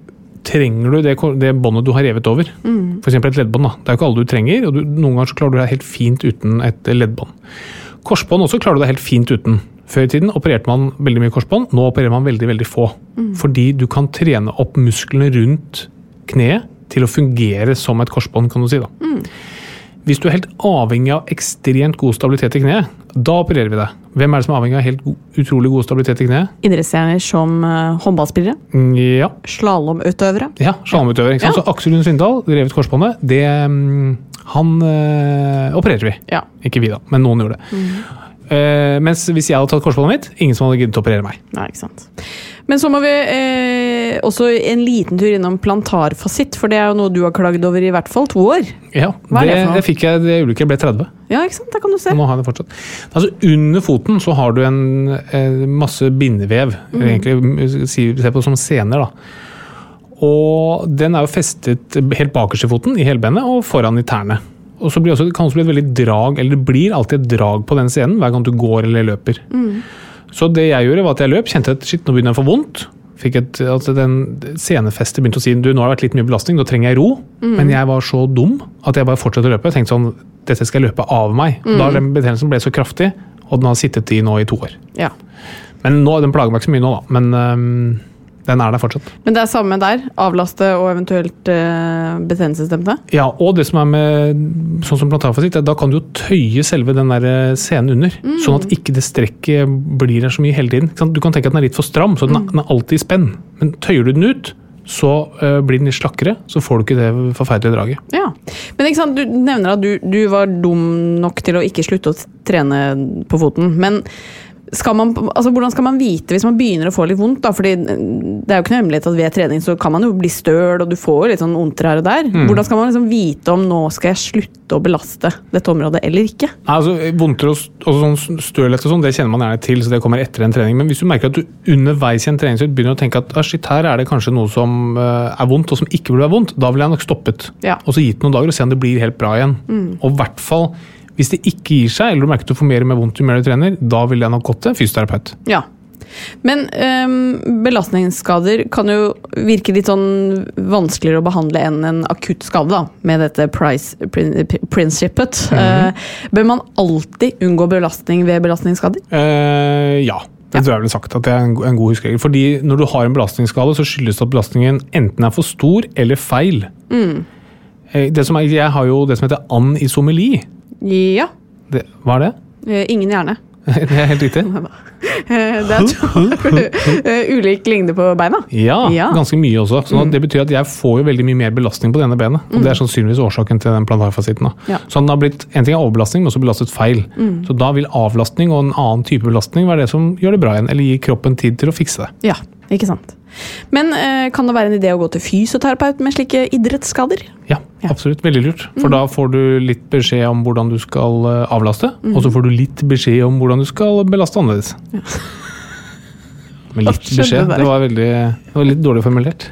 Speaker 3: trenger du det, kor- det båndet du har revet over. For F.eks. et leddbånd. da. Det er jo ikke alle du trenger, og du, noen ganger så klarer du deg helt fint uten et leddbånd. Korsbånd også klarer du deg helt fint uten. Før i tiden opererte man veldig mye korsbånd, nå opererer man veldig veldig få. Fordi du kan trene opp musklene rundt kneet til å fungere som et korsbånd, kan du si. da. Hvis du er helt avhengig av ekstremt god stabilitet i kneet, da opererer vi deg. Hvem er det som er avhengig av helt go utrolig god stabilitet i kneet?
Speaker 2: Idrettsstjerner som eh, håndballspillere,
Speaker 3: Mm, Ja,
Speaker 2: slalåmutøvere.
Speaker 3: ja slalåmutøver. ikke sant?
Speaker 2: Ja.
Speaker 3: Så Aksel Lund Svindal, revet korsbåndet, det mm, Han øh, opererer vi.
Speaker 2: Ja.
Speaker 3: Ikke vi, da, men noen gjorde det.
Speaker 2: Mm.
Speaker 3: Eh, mens hvis jeg hadde tatt korsbåndet mitt, ingen som hadde giddet å operere meg.
Speaker 2: Nei, ikke sant. Men så må vi eh, eh, også en liten tur innom plantarfasitt, for det er jo noe du har klagd over i hvert fall to år.
Speaker 3: Ja,
Speaker 2: Hva er
Speaker 3: det,
Speaker 2: det for noe?
Speaker 3: det fikk jeg det øyeblikket jeg ble 30.
Speaker 2: Ja, ikke sant? Der kan du se.
Speaker 3: Og nå har jeg det fortsatt. Altså Under foten så har du en, eh, masse bindevev,
Speaker 2: Mm.
Speaker 3: egentlig si- se på det som sener. da. Og den er jo festet helt bakerst i foten, i hælbenet, og foran i tærne. Og så blir også, det kan også bli et veldig drag, eller det blir alltid et drag på den scenen hver gang du går eller løper. Så det jeg gjorde var at jeg løp, kjente at shit, nå begynner jeg å få vondt. Fikk et, at den senefeste begynte å si du, nå har det vært litt mye belastning, nå trenger jeg ro. Men jeg var så dum at jeg bare fortsatte å løpe. Jeg tenkte sånn, dette skal jeg løpe av meg. Da den betennelsen ble så kraftig, og den har sittet i nå i to år.
Speaker 2: Ja.
Speaker 3: Men nå, den plager meg ikke så mye nå, da. Men øhm, den er der fortsatt.
Speaker 2: Men det er samme der. Avlaste og eventuelt eh, betennelsesdempende.
Speaker 3: Ja, og det som er med sånn som plantarfasitt, er at da kan du jo tøye selve den der eh, scenen under. Sånn at ikke det strekket blir der så mye hele tiden. Ikke sant? Du kan tenke at den er litt for stram, så den er, den er alltid i spenn. Men tøyer du den ut, så øh, blir den litt slakkere, så får du ikke det forferdelige draget.
Speaker 2: Ja. Men ikke sant, du nevner at du, du var dum nok til å ikke slutte å t- trene på foten. Men skal man, altså, hvordan skal man vite hvis man begynner å få litt vondt? Da? Fordi mm, det er jo ikke noe hemmelighet at ved trening så kan man jo bli støl, og du får jo litt sånn vondter her og der. Hvordan skal man liksom vite om nå skal jeg slutte å belaste dette området eller ikke?
Speaker 3: Nei, altså Vondter og, s- og sånn stølhet og sånn, det kjenner man gjerne til, så det kommer etter en trening. Men hvis du merker at du underveis i en treningsøkt begynner å tenke at ah, shit, her er det kanskje noe som øh, er vondt, og som ikke burde være vondt, da ville jeg nok stoppet.
Speaker 2: Ja.
Speaker 3: Og så gitt noen dager og se om det blir helt bra igjen. Og i hvert fall hvis det ikke gir seg, eller du merker at du får mer og mer vondt jo mer du trener, da ville jeg nok gått til fysioterapeut.
Speaker 2: Ja. Men øhm, belastningsskader kan jo virke litt sånn vanskeligere å behandle enn en akutt skade, da, med dette price prin- principet. Eh, bør man alltid unngå belastning ved belastningsskader?
Speaker 3: Eh, ja. Det tror jeg vel er sagt at det er en, go- en god huskeregel. Fordi når du har en belastningsskade, så skyldes det at belastningen enten er for stor eller feil. Eh, Det som er, jeg har jo det som heter anisomeli.
Speaker 2: Ja.
Speaker 3: Det, hva er det? [LAUGHS]
Speaker 2: Eh, ingen hjerne.
Speaker 3: Det er helt riktig.
Speaker 2: Eh, det er to [LAUGHS] eh, ulik lengde på beina.
Speaker 3: Ja,
Speaker 2: Ja. Mm.
Speaker 3: ganske mye også. Sånn at Det betyr at jeg får jo veldig mye mer belastning på det ene benet. Og det er sannsynligvis årsaken til den plantarfasitten. da.
Speaker 2: Ja. Mm.
Speaker 3: Så den har blitt, en ting er overbelastning, men også belastet feil. Så da vil avlastning og en annen type belastning være det som gjør det bra igjen, eller gir kroppen tid til å fikse det.
Speaker 2: Ja, ikke sant. Men eh, kan det være en idé å gå til fysioterapeut med slike idrettsskader?
Speaker 3: Ja,
Speaker 2: Ja. Mm.
Speaker 3: absolutt. Veldig lurt. For da får du litt beskjed om hvordan du skal eh, avlaste,
Speaker 2: Mm.
Speaker 3: og så får du litt beskjed om hvordan du skal belaste annerledes. [LAUGHS] Men litt
Speaker 2: skjønner
Speaker 3: beskjed,
Speaker 2: det.
Speaker 3: det var, veldig, det var litt dårlig formulert.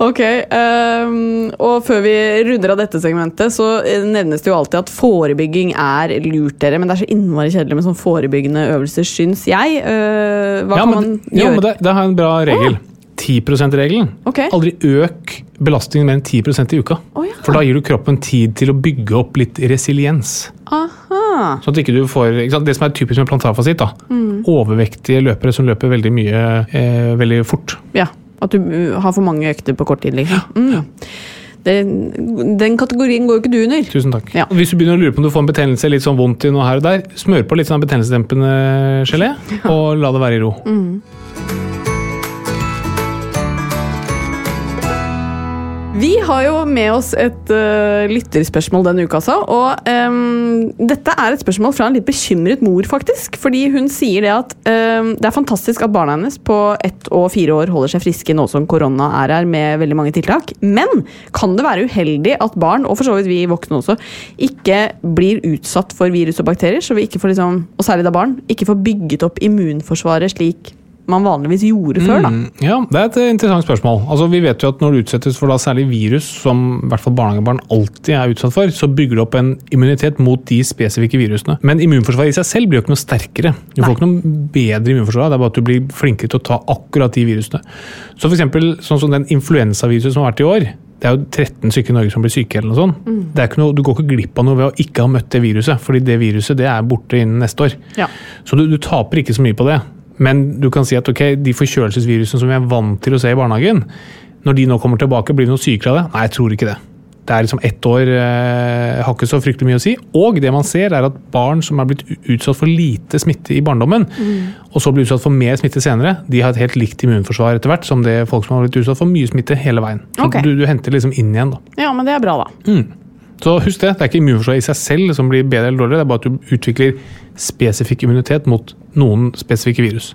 Speaker 2: Ok, ehm, og før vi runder av dette segmentet, så eh, nevnes det jo alltid at forebygging er lurt, dere. Men det er så innmari kjedelig med sånn forebyggende øvelser, syns jeg. Eh, hva
Speaker 3: ja,
Speaker 2: kan
Speaker 3: men,
Speaker 2: man
Speaker 3: ja,
Speaker 2: gjøre?
Speaker 3: men det, det er en bra regel. 10 %-regelen.
Speaker 2: Ok.
Speaker 3: Aldri øk belastningen mer enn 10 i uka.
Speaker 2: Å, ja.
Speaker 3: For da gir du kroppen tid til å bygge opp litt resiliens.
Speaker 2: Aha.
Speaker 3: Sånn at ikke du får, ikke sant? Det som er typisk med plantarfasitt, da. overvektige løpere som løper veldig mye eh, veldig fort.
Speaker 2: Ja, at du eh, har for mange økter på kort tid, liksom. Mm. Det, den kategorien går jo ikke du under.
Speaker 3: Tusen takk.
Speaker 2: Ja.
Speaker 3: Hvis du begynner å lure på om du får en betennelse, litt sånn vondt i noe her og der, smør på litt sånn betennelsesdempende gelé, og la det være i ro.
Speaker 2: Vi har jo med oss et eh, lytterspørsmål denne uka, altså. Og ehm, dette er et spørsmål fra en litt bekymret mor, faktisk. Fordi hun sier det at ehm, det er fantastisk at barna hennes på ett og fire år holder seg friske nå som korona er her med veldig mange tiltak. Men kan det være uheldig at barn, og for så vidt vi voksne også, ikke blir utsatt for virus og bakterier? Så vi ikke får liksom, og særlig da barn, ikke får bygget opp immunforsvaret slik man vanligvis gjorde før, da.
Speaker 3: Mm, Ja, det er et eh, interessant spørsmål. Altså, vi vet jo at når du utsettes for da særlig virus, som i hvert fall barnehagebarn alltid er utsatt for, så bygger du opp en immunitet mot de spesifikke virusene. Men immunforsvaret i seg selv blir jo ikke noe sterkere. Du får ikke noe bedre immunforsvar, det er bare at du blir flinkere til å ta akkurat de virusene. Så for eksempel, sånn som den influensaviruset som har vært i år, det er jo 13 stykker i Norge som blir syke. eller noe sånt.
Speaker 2: Mm.
Speaker 3: Det er ikke noe, du går ikke glipp av noe ved å ikke ha møtt det viruset, fordi det viruset det er borte innen neste år.
Speaker 2: Ja.
Speaker 3: Så du, du taper ikke så mye på det. Men du kan si at ok, de forkjølelsesvirusene som vi er vant til å se i barnehagen, når de nå kommer tilbake, blir vi noe sykere av det? Nei, jeg tror ikke det. Det er liksom ett år eh, har ikke så fryktelig mye å si. Og det man ser, er at barn som er blitt u- utsatt for lite smitte i barndommen, og så blir utsatt for mer smitte senere, de har et helt likt immunforsvar etter hvert som det folk som har blitt utsatt for mye smitte hele veien. Så
Speaker 2: Ok.
Speaker 3: du, du henter liksom inn igjen, da.
Speaker 2: Ja, men det er bra, da.
Speaker 3: Så husk det, det er ikke immunforsvaret i seg selv som blir bedre eller dårligere, det er bare at du utvikler spesifikk immunitet mot noen spesifikke virus.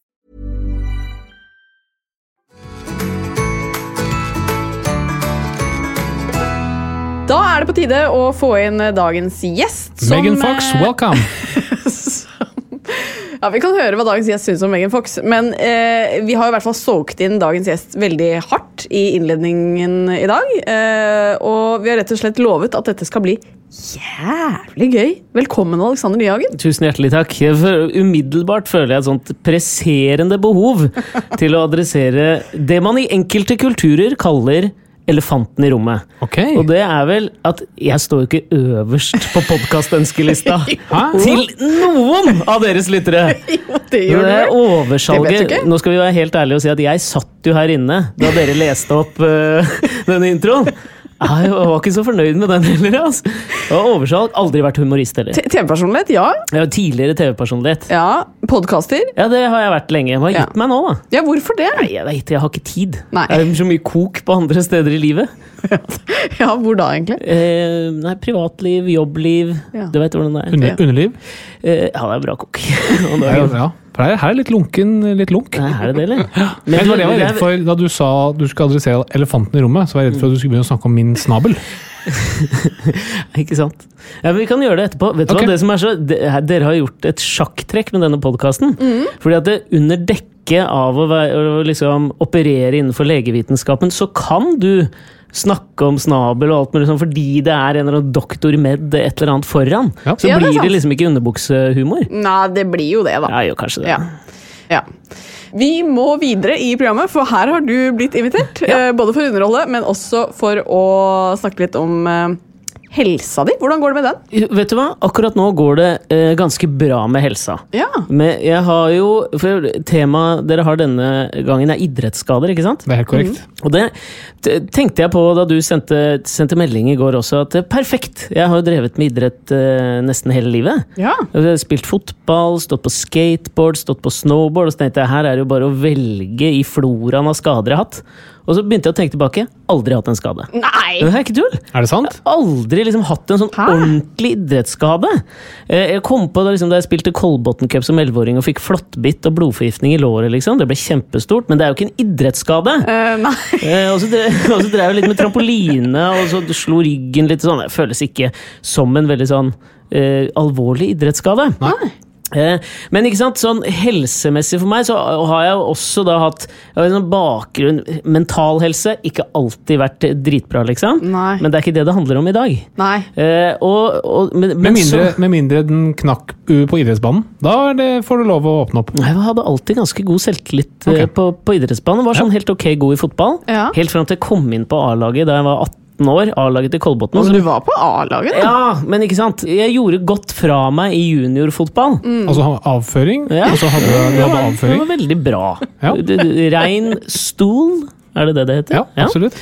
Speaker 2: Da er det på tide å få inn eh, dagens gjest. som,
Speaker 3: Megan Fox,
Speaker 2: eh,
Speaker 3: welcome!
Speaker 4: [LAUGHS]
Speaker 2: [LAUGHS] Ja, Vi kan høre hva dagens gjest syns om Megan Fox, men eh, vi har i hvert fall solgt inn dagens gjest veldig hardt i innledningen i dag. Eh, og vi har rett og slett lovet at dette skal bli jævlig gøy. Velkommen, Alexander Nyhagen.
Speaker 4: Tusen hjertelig takk. Jeg føl- Umiddelbart føler jeg et sånt presserende behov til å adressere det man i enkelte kulturer kaller elefanten i rommet.
Speaker 3: Ok.
Speaker 4: Og det er vel at jeg står jo ikke øverst på podkastønskelista
Speaker 1: 啊
Speaker 3: Hæ?
Speaker 4: til noen av deres lyttere!
Speaker 2: [LAUGHS] Jo, det Det
Speaker 4: Det er
Speaker 2: vet du
Speaker 4: oversalget.
Speaker 2: ikke.
Speaker 4: Nå skal vi være helt ærlige og si at jeg satt jo her inne da dere leste opp eh, denne introen. Jeg var ikke så fornøyd med den heller. Altså. Det var oversalg. Aldri vært humorist heller.
Speaker 2: T- TV-personlighet, ja.
Speaker 4: Jeg var tidligere TV-personlighet.
Speaker 2: ja. Podkaster.
Speaker 4: Ja, det har jeg vært lenge. Hva har
Speaker 2: Ja.
Speaker 4: gitt meg nå, da?
Speaker 2: Ja, hvorfor det?
Speaker 4: Nei, jeg vet, jeg har ikke tid.
Speaker 2: Nei.
Speaker 4: Det er så mye kok på andre steder i livet.
Speaker 2: [LAUGHS] Ja, Hvor da, egentlig?
Speaker 4: Eh, nei, privatliv, jobbliv.
Speaker 2: Ja.
Speaker 4: Du vet hvordan det er.
Speaker 3: Under, underliv?
Speaker 4: Eh, ja, det er bra kok. [LAUGHS] Om
Speaker 3: Ja,
Speaker 4: dagen.
Speaker 3: ja. For her- her er litt lunken, litt lunk.
Speaker 4: Nei, er det det, eller? Men
Speaker 3: Men det var det jeg var
Speaker 4: det er-
Speaker 3: redd for da du sa du skulle adressere elefanten i rommet. Så var jeg redd for at du skulle begynne å snakke om min snabel.
Speaker 4: [LAUGHS]
Speaker 3: [LAUGHS]
Speaker 4: Ikke sant? Ja, men Vi kan gjøre det etterpå. Vet du
Speaker 3: Ok.
Speaker 4: hva, det som er så, det, her- Dere har gjort et sjakktrekk med denne podkasten.
Speaker 2: Mm.
Speaker 4: Fordi at det, under dekke av å, være, å liksom operere innenfor legevitenskapen, så kan du snakke om snabel og alt mulig sånn, fordi det er en eller annen doktor med et eller annet foran.
Speaker 3: Ja.
Speaker 4: Så
Speaker 2: Ja, det er
Speaker 4: blir det,
Speaker 2: sant.
Speaker 4: liksom ikke underbuksehumor.
Speaker 2: Nei, det blir jo det, da.
Speaker 4: Ja, jo, kanskje det.
Speaker 2: Ja. ja. Vi må videre i programmet, for her har du blitt invitert. eh, Både for å underholde, men også for å snakke litt om eh, helsa di. Hvordan går det med den?
Speaker 4: Jo, Vet du hva? Akkurat nå går det eh, ganske bra med helsa.
Speaker 2: Ja.
Speaker 4: Men jeg har jo For temaet dere har denne gangen, er idrettsskader, ikke sant?
Speaker 3: Det er helt korrekt.
Speaker 4: Og det t- tenkte jeg på da du sendte, sendte melding i går også, at eh, perfekt! Jeg har jo drevet med idrett eh, nesten hele livet.
Speaker 2: Ja.
Speaker 4: Jeg har Spilt fotball, stått på skateboard, stått på snowboard. Og så tenkte jeg her er det jo bare å velge i floraen av skader jeg har hatt. Og så begynte jeg å tenke tilbake. Aldri hatt en skade.
Speaker 2: Nei!
Speaker 4: Det er ikke tull!
Speaker 3: Er det sant?
Speaker 4: aldri liksom hatt en sånn
Speaker 2: Hæ?
Speaker 4: ordentlig idrettsskade. Eh, Jeg kom på det liksom da jeg spilte Kolbotn Cup som 11-åring og fikk flåttbitt og blodforgiftning i låret. liksom. Det ble kjempestort, men det er jo ikke en idrettsskade.
Speaker 2: Eh, nei.
Speaker 4: Eh, Og så dre- [LAUGHS] og så drev jeg litt med trampoline, og så slo ryggen litt sånn. Det føles ikke som en veldig sånn eh, alvorlig idrettsskade. Eh, Men ikke sant, sånn helsemessig for meg så har jeg jo også da hatt jeg har en sånn bakgrunn Mental helse, ikke alltid vært dritbra, liksom.
Speaker 2: Nei.
Speaker 4: Men det er ikke det det handler om i dag.
Speaker 2: nei.
Speaker 4: Eh, og, og, men,
Speaker 3: Med
Speaker 4: men
Speaker 3: mindre,
Speaker 4: så,
Speaker 3: med mindre den knakk uh, på idrettsbanen. Da er det, får du lov å åpne opp.
Speaker 4: Jeg hadde alltid ganske god selvtillit eh,
Speaker 3: Ok.
Speaker 4: på, på idrettsbanen. Var sånn helt ok god i fotball.
Speaker 2: Ja.
Speaker 4: Helt fram til jeg kom inn på A-laget da jeg var 18 år. A-laget til Kolbotn.
Speaker 2: Altså, du var på A-laget, da?
Speaker 4: Ja, men ikke sant? Jeg gjorde godt fra meg i juniorfotball.
Speaker 3: Altså ha- avføring.
Speaker 4: Mm. Ja.
Speaker 3: Og så hadde du- du
Speaker 4: Det,
Speaker 3: hadde
Speaker 4: var, det
Speaker 3: avføring.
Speaker 4: var veldig bra.
Speaker 3: Ja.
Speaker 4: Du- du- Rein stol, er det det det heter?
Speaker 3: Ja, absolutt.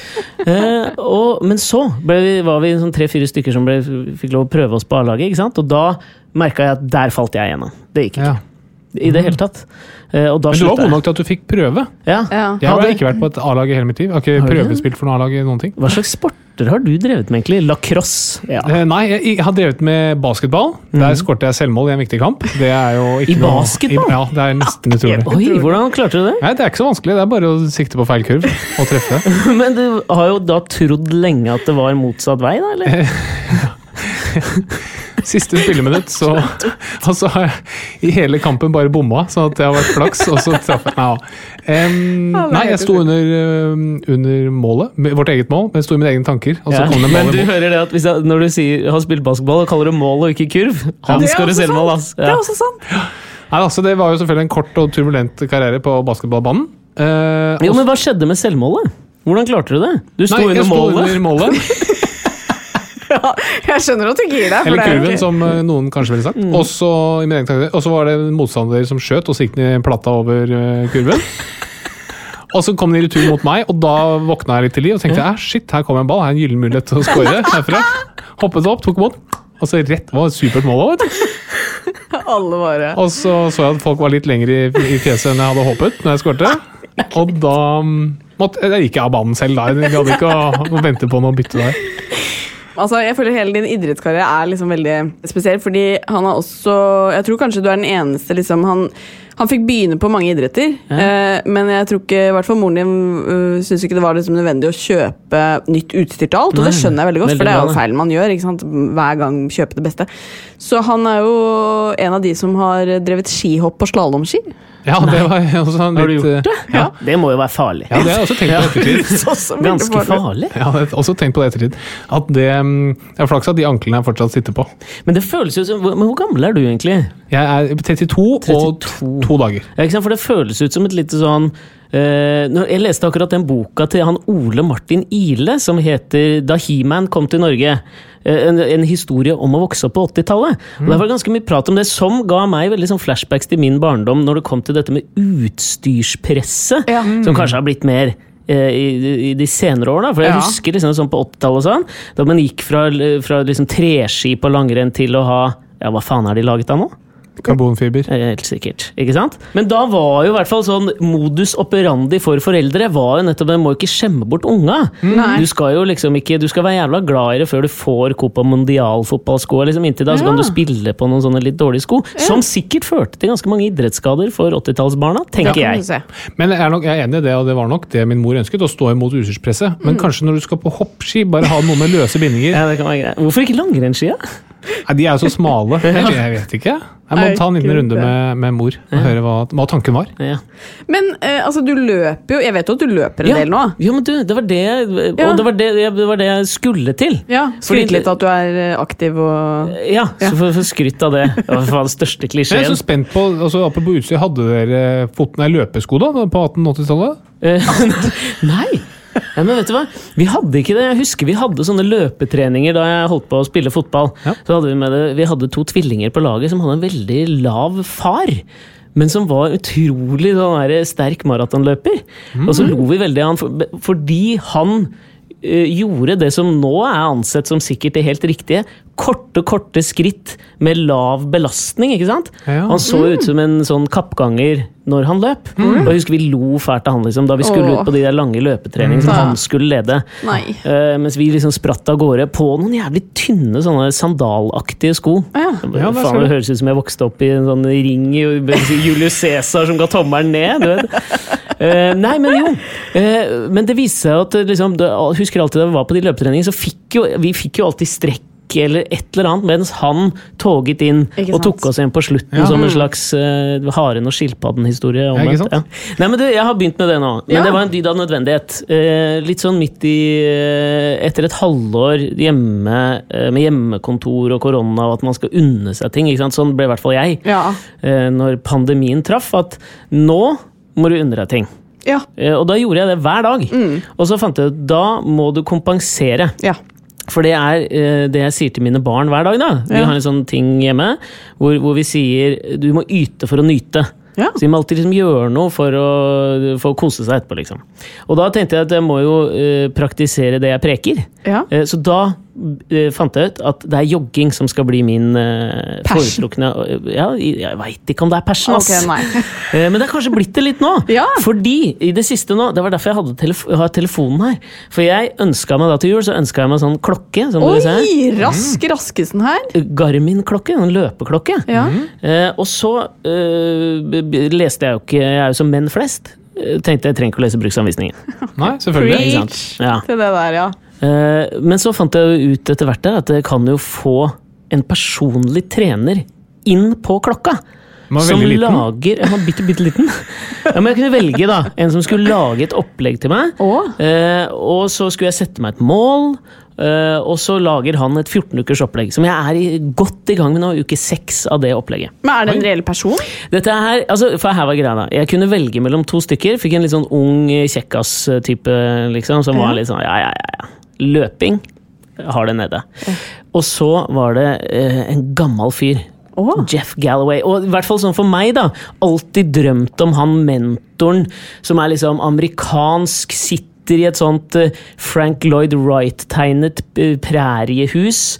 Speaker 4: Eh, og, men så ble vi, var vi sånn tre-fire stykker som ble, fikk lov å prøve oss på A-laget. ikke sant? Og da merka jeg at der falt jeg igjennom. Det gikk ikke.
Speaker 3: Ja.
Speaker 4: i det hele tatt. Eh, og
Speaker 3: Men du
Speaker 4: da
Speaker 3: var
Speaker 4: slutta
Speaker 3: god
Speaker 4: jeg.
Speaker 3: nok til at du fikk prøve.
Speaker 4: Ja.
Speaker 2: Ja.
Speaker 3: Jeg har
Speaker 4: Hadde-
Speaker 3: ikke vært på et A-lag i hele mitt liv. Jeg har
Speaker 4: Har
Speaker 3: ikke
Speaker 4: du ikke?
Speaker 3: prøvespilt for noe A-lag. i noen ting.
Speaker 4: Hva slags sporter har du drevet med, egentlig? Lacrosse? Ja. Mm.
Speaker 3: Eh, Nei, jeg, jeg har drevet med basketball. Der skårte jeg selvmål i en viktig kamp. Det er jo ikke
Speaker 4: I
Speaker 3: noe- I,
Speaker 4: basketball?
Speaker 3: ja, det er nesten utrolig.
Speaker 4: Oi, hvordan klarte du det?
Speaker 3: Nei, det er ikke så vanskelig. Det er bare å sikte på feil kurv og treffe.
Speaker 4: Men du har jo da trodd lenge at det var motsatt vei,
Speaker 3: [LAUGHS]
Speaker 4: da? eller?
Speaker 3: Siste spilleminutt, så Og så har jeg i hele kampen bare bomma, sånn at det har vært flaks, og så traff jeg ja. Em,
Speaker 2: Ja, det er
Speaker 3: Nei, jeg
Speaker 2: helt
Speaker 3: sto under, eh, under målet, med- vårt eget mål, men jeg sto i mine egne tanker, og så
Speaker 4: Ja.
Speaker 3: kom det
Speaker 4: Men
Speaker 3: mål.
Speaker 4: du
Speaker 3: i mål.
Speaker 4: hører det at hvis jeg, når du sier, har spilt basketball og kaller det mål og ikke kurv Han
Speaker 2: Det er
Speaker 4: skårer
Speaker 2: også
Speaker 4: selvmål,
Speaker 2: sant.
Speaker 4: ass.
Speaker 2: Det
Speaker 4: Ja.
Speaker 2: er også sant.
Speaker 3: Nei, altså, det var jo selvfølgelig en kort og turbulent karriere på basketballbanen. Eh,
Speaker 4: Jo, men hva skjedde med selvmålet? Hvordan klarte du det? Du sto
Speaker 3: Nei, jeg
Speaker 4: under
Speaker 3: sto
Speaker 4: målet.
Speaker 3: under målet.
Speaker 2: Ja, jeg skjønner at du gir deg. for
Speaker 3: Eller
Speaker 2: det er jo
Speaker 3: kurven,
Speaker 2: ikke-
Speaker 3: som eh, noen kanskje ville sagt. Og så i min egen tanke, og så var det en motstander som skjøt, og så gikk den i plata over eh, kurven. Og så kom den i retur mot meg, og da våkna jeg litt til liv og tenkte «Æ, shit, her kom en ball, her er en gyllen mulighet til å score herfra. Hoppet opp, tok imot. Og så rett det var et supert mål. da, vet du.
Speaker 2: Alle bare
Speaker 3: Og så så jeg at folk var litt lengre i, i fjeset enn jeg hadde håpet. når jeg skårte. Og da mm, måtte, jeg gikk jeg av banen selv da. Jeg gadd ikke å, å vente på noe bytte der.
Speaker 2: Altså, jeg føler hele din idrettskarriere er liksom veldig spesiell, fordi han har også Jeg tror kanskje du er den eneste liksom Han, han fikk begynne på mange idretter, eh, men jeg tror ikke, i hvert fall moren din uh, syntes ikke det var liksom nødvendig å kjøpe nytt utstyr til alt, og det
Speaker 4: Nei,
Speaker 2: skjønner jeg veldig godt,
Speaker 4: veldig
Speaker 2: for det er
Speaker 4: bra,
Speaker 2: jo
Speaker 4: det.
Speaker 2: feil man gjør. Ikke sant? Hver gang kjøpe det beste. Så han er jo en av de som har drevet skihopp på slalåmski.
Speaker 3: Ja, det var [LAUGHS] også en litt,
Speaker 4: Har du gjort
Speaker 3: det? Ja,
Speaker 4: Det må jo være farlig.
Speaker 3: ja, det har jeg også tenkt på ettertid.
Speaker 4: Ganske farlig.
Speaker 3: Jeg hadde også tenkt på det i ettertid. At det, mm, det er flaks at de anklene jeg fortsatt sitter på.
Speaker 4: Men det føles jo som Men hvor gammel er du, egentlig?
Speaker 3: Jeg er 32, og to,
Speaker 4: 32.
Speaker 3: to dager.
Speaker 4: Ja, ikke sant? For det føles ut som et lite sånn eh, når Jeg leste akkurat den boka til han Ole Martin Ile som heter 'Da He-Man kom til Norge'. Eh, En, en historie om å vokse opp på 80-tallet. Og
Speaker 2: Mm.
Speaker 4: Der var det ganske mye prat om det, som ga meg veldig sånn flashbacks til min barndom når det kom til dette med utstyrspresset,
Speaker 2: Ja. Mm.
Speaker 4: som kanskje har blitt mer eh, i, i de senere år, da. For jeg
Speaker 2: Ja.
Speaker 4: husker liksom sånn på 80-tallet og sånn, da man gikk fra, fra liksom treski på langrenn til å ha Ja, hva faen er de laget av nå?
Speaker 3: Karbonfiber.
Speaker 4: Eh, Helt sikkert. ikke sant? Men da var jo i hvert fall sånn modus operandi for foreldre var jo nettopp den må ikke skjemme bort unga. Du skal jo liksom ikke, du skal være jævla glad i det før du får Copa Mondial-fotballskoa. Liksom inntil da så kan du spille på noen sånne litt dårlige sko. Som sikkert førte til ganske mange idrettsskader for 80-tallsbarna, tenker
Speaker 2: Kan du
Speaker 4: jeg.
Speaker 2: se.
Speaker 3: Men jeg er, nok, jeg er enig i det, og det var nok det min mor ønsket. Å stå imot utstyrspresset. Men kanskje når du skal på hoppski, bare ha noe med løse bindinger.
Speaker 4: Ja, det kan være greit. Hvorfor ikke langrennsskia?
Speaker 3: Nei, de er jo så smale. Jeg, jeg vet ikke. Jeg må
Speaker 2: Nei,
Speaker 3: ta en liten
Speaker 2: ikke
Speaker 3: runde
Speaker 2: det.
Speaker 3: med, med mor og høre hva, hva tanken var.
Speaker 4: Ja.
Speaker 2: Men eh, altså, du løper jo Jeg vet jo at du løper en
Speaker 4: Ja.
Speaker 2: del nå.
Speaker 4: Jo, men du, det var det, og
Speaker 2: Ja.
Speaker 4: det, var det, det var det jeg skulle til.
Speaker 2: Ja,
Speaker 4: Fordi- Eh,
Speaker 2: Skryt litt av at du er eh, aktiv og
Speaker 4: Ja, så for, for skrytt av det. Det var faen den største
Speaker 3: Jeg er
Speaker 4: klisjeen.
Speaker 3: så spent på, altså Apropos utstyr, hadde dere fot, nei, løpesko da, på 1880-tallet?
Speaker 4: Eh, [LAUGHS] Nei! Ja, men vet du hva? Vi hadde ikke det. Jeg husker vi hadde sånne løpetreninger da jeg holdt på å spille fotball.
Speaker 3: Ja.
Speaker 4: Så hadde vi, med det. vi hadde to tvillinger på laget som hadde en veldig lav far. Men som var utrolig sånn der, sterk maratonløper.
Speaker 3: Mm.
Speaker 4: Og så lo vi veldig av han for, fordi han eh, gjorde det som nå er ansett som sikkert det helt riktige. Korte, korte skritt med lav belastning, ikke sant?
Speaker 3: Ja.
Speaker 4: Han så ut som en sånn kappganger når han løp. Og jeg husker vi lo fælt av han liksom, da vi skulle
Speaker 2: Åh.
Speaker 4: ut på de der lange løpetreningene som
Speaker 2: Ja.
Speaker 4: han skulle lede.
Speaker 2: Nei.
Speaker 4: Eh, mens vi liksom spratt av gårde på noen jævlig tynne sånne sandalaktige sko.
Speaker 2: Ja.
Speaker 4: Jeg bare,
Speaker 3: Ja, det
Speaker 4: Faen,
Speaker 3: skal
Speaker 4: det
Speaker 3: du.
Speaker 4: høres ut som jeg vokste opp i en sånn ring i Julius Cæsar som ga tommelen ned. Du vet. Eh, nei, men jo. Eh, men det viste seg at eh, liksom, det, Husker alltid da vi var på de løpetreningene, så fikk jo, vi fikk jo alltid strekk. Eller et eller annet, mens han toget inn
Speaker 2: Ikke
Speaker 4: og
Speaker 2: sant?
Speaker 4: tok oss igjen på slutten
Speaker 3: Ja. Mm.
Speaker 4: som en slags eh, haren og skilpadden-historie.
Speaker 3: Ja, ikke
Speaker 4: omvendt,
Speaker 3: sant?
Speaker 4: Ja. Nei, men du, Jeg har begynt med det nå, men
Speaker 2: Ja.
Speaker 4: det var en dyd av nødvendighet. Eh, litt sånn midt i eh, Etter et halvår hjemme eh, med hjemmekontor og korona og at man skal unne seg ting. Ikke sant? Sånn ble i hvert fall jeg
Speaker 2: Ja.
Speaker 4: eh, når pandemien traff. At nå må du unne deg ting.
Speaker 2: Ja.
Speaker 4: Eh, og da gjorde jeg det hver dag. Og så fant jeg ut da må du kompensere.
Speaker 2: ja.
Speaker 4: For det er eh, det jeg sier til mine barn hver dag. da. Vi
Speaker 2: Ja.
Speaker 4: har en sånn ting hjemme hvor, hvor vi sier du må yte for å nyte.
Speaker 2: Ja.
Speaker 4: Så de må alltid liksom gjøre noe for å, for å kose seg etterpå. liksom. Og da tenkte jeg at jeg må jo eh, praktisere det jeg preker.
Speaker 2: ja.
Speaker 4: Eh, så da eh, fant jeg ut at det er jogging som skal bli min eh,
Speaker 2: Passion.
Speaker 4: foretrukne Ja, jeg veit ikke om det er passion, ass.
Speaker 2: Ok, nei.
Speaker 4: Eh, Men det har kanskje blitt det litt nå.
Speaker 2: [LAUGHS] Ja.
Speaker 4: Fordi i det siste nå, Det var derfor jeg hadde telef har telefonen her. For jeg ønska meg da til jul så ønsket jeg meg sånn klokke. Som dere ser. her. Mm.
Speaker 2: Oi, rask Raskesen her.
Speaker 4: Garmin-klokke. En løpeklokke.
Speaker 2: Ja.
Speaker 4: Eh, og så eh, b- b- leste jeg jo ikke Jeg er jo som menn flest. Eh, Tenkte jeg trenger ikke å lese
Speaker 2: [LAUGHS]
Speaker 4: bruksanvisningen.
Speaker 3: Nei, selvfølgelig.
Speaker 4: Ikke sant? Ja.
Speaker 2: Til det der, ja.
Speaker 4: Eh, men så fant jeg jo ut etter hvert der at jeg kan jo få en personlig trener inn på klokka.
Speaker 3: Man er
Speaker 4: som
Speaker 3: veldig liten.
Speaker 4: lager ja, man er bitte, bitte
Speaker 2: [LAUGHS]
Speaker 4: liten. Ja, men jeg kunne velge da en som skulle lage et opplegg til meg.
Speaker 2: Å?
Speaker 4: Eh, og så skulle jeg sette meg et mål. eh, og så lager han et 14 ukers opplegg, som jeg er i, godt i gang med nå. Uke seks av det opplegget.
Speaker 2: Men er det en reell person?
Speaker 4: Dette her, altså, for her var greia da Jeg kunne velge mellom to stykker. Fikk en litt sånn ung eh, kjekkas-type, liksom, som var litt sånn ja, ja, ja. ja. Løping har det nede. Og så var det eh, en gammel fyr.
Speaker 2: Å.
Speaker 4: Jeff Galloway. Og i hvert fall sånn for meg, da. Alltid drømt om han mentoren som er liksom amerikansk, sitter i et sånt eh, Frank Lloyd Wright-tegnet eh, præriehus.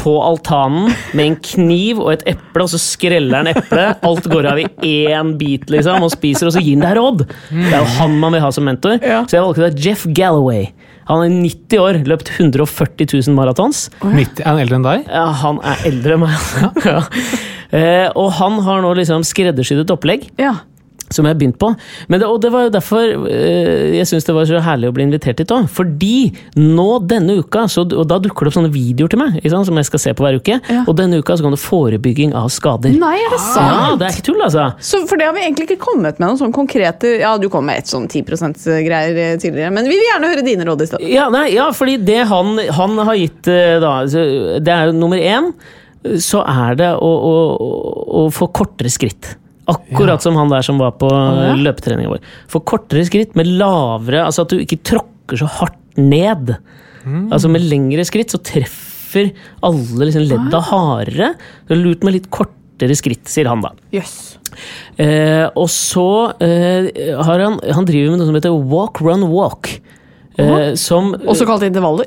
Speaker 4: På altanen med en kniv og et eple, og så skreller han eplet. Alt går av i én bit, liksom, og spiser, og så gir han deg råd! Det er jo han man vil ha som mentor.
Speaker 2: Ja.
Speaker 4: Så jeg valgte da Jeff Galloway. Han er 90 år, løpt 140 000 maratons.
Speaker 3: 90, er han eldre enn deg?
Speaker 4: Ja, han er eldre enn meg. [LAUGHS] ja. Eh, og han har nå liksom skreddersydd et opplegg
Speaker 2: Ja.
Speaker 4: som jeg har begynt på. Men det, og det var jo derfor eh, jeg syns det var så herlig å bli invitert hit òg. Fordi nå denne uka, så, og da dukker det opp sånne videoer til meg ikke sant, som jeg skal se på hver uke.
Speaker 2: Ja.
Speaker 4: Og denne uka så kom det forebygging av skader.
Speaker 2: Nei, er det
Speaker 4: Ah, Ja,
Speaker 2: sant?
Speaker 4: det er ikke tull, altså.
Speaker 2: Så for det har vi egentlig ikke kommet med noen sånn konkrete Ja, du kom med et sånn 10 %-greier eh, tidligere, men vi vil gjerne høre dine råd i stedet.
Speaker 4: Ja, nei, ja fordi det han, han har gitt eh, da, så Det er jo nummer én. Så er det å, å, å- å få kortere skritt. Akkurat som han der som var på
Speaker 2: ja.
Speaker 4: løpetreninga vår. Få kortere skritt med lavere Altså at du ikke tråkker så hardt ned. Altså med lengre skritt så treffer alle liksom ledda hardere. Så det er lurt med litt kortere skritt, sier han da.
Speaker 2: Jøss.
Speaker 4: Eh, og så eh, har han Han driver med noe som heter walk, run, walk. Eh, som
Speaker 2: Også kalt intervaller.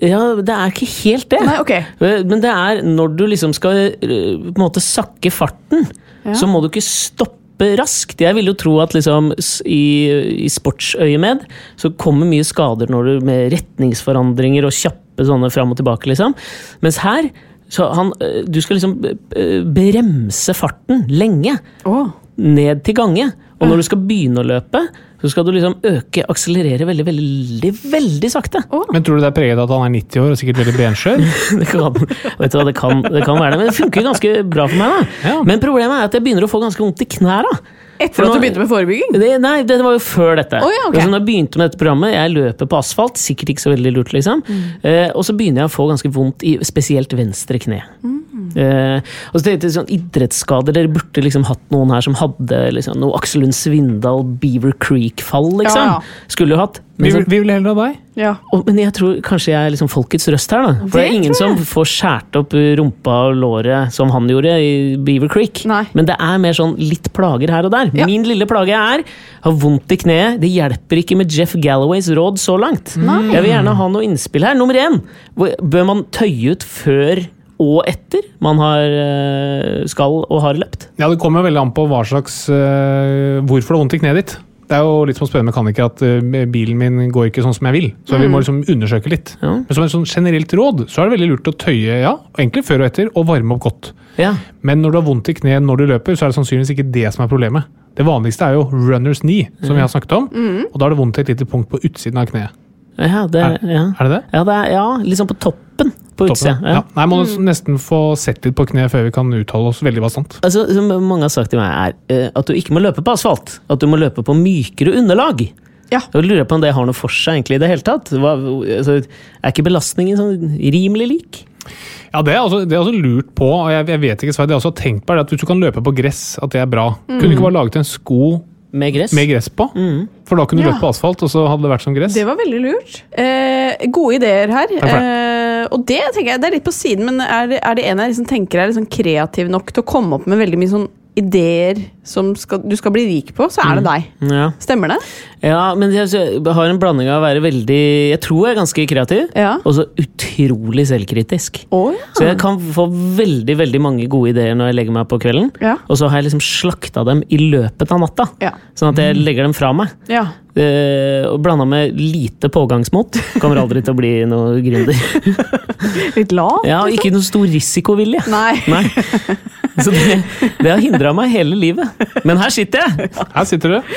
Speaker 4: Ja, det er ikke helt det.
Speaker 2: Nei, ok.
Speaker 4: Eh, Men det er når du liksom skal eh, på en måte sakke farten, så må du ikke stoppe raskt. Jeg vil jo tro at liksom s- i, i sportsøyemed så kommer mye skader når du med retningsforandringer og kjappe sånne fram og tilbake, liksom. Mens her så han, eh, du skal liksom eh, bremse farten lenge
Speaker 2: Å.
Speaker 4: ned til gange. Og når du skal begynne å løpe, så skal du liksom øke, akselerere veldig, veldig, veldig sakte.
Speaker 3: Men tror du det er preget av at han er 90 år og sikkert veldig benskjør?
Speaker 4: Det kan, vet du hva, det kan, det kan være det, men det funker jo ganske bra for meg. da.
Speaker 3: Ja.
Speaker 4: Men problemet er at jeg begynner å få ganske vondt i knæra.
Speaker 2: Etter at du begynte med forebygging?
Speaker 4: Det, nei, det var jo før dette.
Speaker 2: Å, ja, ok.
Speaker 4: Men så når jeg begynte med dette programmet, Jeg løper på asfalt, sikkert ikke så veldig lurt, liksom.
Speaker 2: Mm.
Speaker 4: Eh, og så begynner jeg å få ganske vondt i spesielt venstre kne.
Speaker 2: Mm.
Speaker 4: Eh, og så tenkte jeg sånn, Idrettsskader, dere burde liksom hatt noen her som hadde liksom, noe Aksel Lund Svindal, Beaver Creek-fall, liksom.
Speaker 2: Ja, ja.
Speaker 4: Skulle jo hatt.
Speaker 3: Vi,
Speaker 4: Men så-
Speaker 3: vi vil heller ha deg.
Speaker 2: Ja.
Speaker 4: og, men jeg tror kanskje jeg er liksom folkets røst her. da. For det,
Speaker 2: Det
Speaker 4: er ingen
Speaker 2: tror
Speaker 4: som
Speaker 2: jeg.
Speaker 4: får skåret opp rumpa og låret som han gjorde i Beaver Creek.
Speaker 2: Nei.
Speaker 4: Men det er mer sånn litt plager her og der.
Speaker 2: Ja.
Speaker 4: Min lille plage er har vondt i kneet. Det hjelper ikke med Jeff Galloways råd så langt. Jeg vil gjerne ha noe innspill her. Nummer én, hvor- bør man tøye ut før og etter man har, øh, skal og har løpt?
Speaker 3: Ja, Det kommer veldig an på hva slags øh, hvorfor det er vondt i kneet ditt. Det er jo litt som å spørre en mekaniker at øh, bilen min går ikke sånn som jeg vil. Så vi må liksom undersøke litt.
Speaker 4: Ja.
Speaker 3: Men som et sånn generelt råd så er det veldig lurt å tøye, ja, egentlig før og etter, og varme opp godt.
Speaker 4: Ja.
Speaker 3: Men når du har vondt i kneet når du løper, så er det sannsynligvis ikke det som er problemet. Det vanligste er jo runners knee, som vi har snakket om. Og da er det vondt i et lite punkt på utsiden av kneet.
Speaker 4: Ja, det, ja.
Speaker 3: Er det det?
Speaker 4: Ja, det er, ja, liksom på toppen. På utsida.
Speaker 3: Toppen. Ja.
Speaker 4: Ja.
Speaker 3: Mm. Nei, må du s- nesten få sett litt på kneet før vi kan uttale oss veldig bastant.
Speaker 4: Altså, som mange har sagt til meg, er eh, at du ikke må løpe på asfalt. At du må løpe på mykere underlag.
Speaker 2: Ja.
Speaker 4: Og lurer jeg på om det har noe for seg egentlig i det hele tatt. Hva, altså, er ikke belastningen sånn rimelig lik?
Speaker 3: Ja, det er også, det er også lurt på, og jeg, jeg vet ikke, Svein, det er også tenkt på, er det at hvis du kan løpe på gress, at det er bra.
Speaker 2: Mm.
Speaker 3: Kunne du ikke bare laget en sko
Speaker 4: Med gress?
Speaker 3: med gress på? For da kunne du
Speaker 2: Ja.
Speaker 3: løpt på asfalt, og så hadde det vært som gress.
Speaker 2: Det var veldig lurt. Eh, gode ideer her.
Speaker 3: for det.
Speaker 2: Eh, og det tenker jeg, det er litt på siden, men er, det- er det en jeg liksom tenker er liksom kreativ nok til å komme opp med veldig mye sånn ideer som skal, du skal bli rik på, så er det deg.
Speaker 4: Ja.
Speaker 2: Stemmer det?
Speaker 4: Ja, men jeg jeg har en blanding av å være veldig Jeg tror jeg er ganske kreativ,
Speaker 2: Ja.
Speaker 4: og så utrolig selvkritisk.
Speaker 2: Å
Speaker 4: Så jeg kan få veldig veldig mange gode ideer når jeg legger meg på kvelden.
Speaker 2: ja.
Speaker 4: Og så har jeg liksom slakta dem i løpet av natta,
Speaker 2: Ja. Mm.
Speaker 4: sånn at jeg legger dem fra meg.
Speaker 2: ja.
Speaker 4: Eh, og blanda med lite pågangsmot. Kommer aldri til å bli noe gründer.
Speaker 2: [LAUGHS] Litt lav?
Speaker 4: Ja, og ikke noe stor risikovilje.
Speaker 2: Nei.
Speaker 4: Nei. Så det, det har hindra meg hele livet. Men her sitter jeg!
Speaker 3: Her sitter du.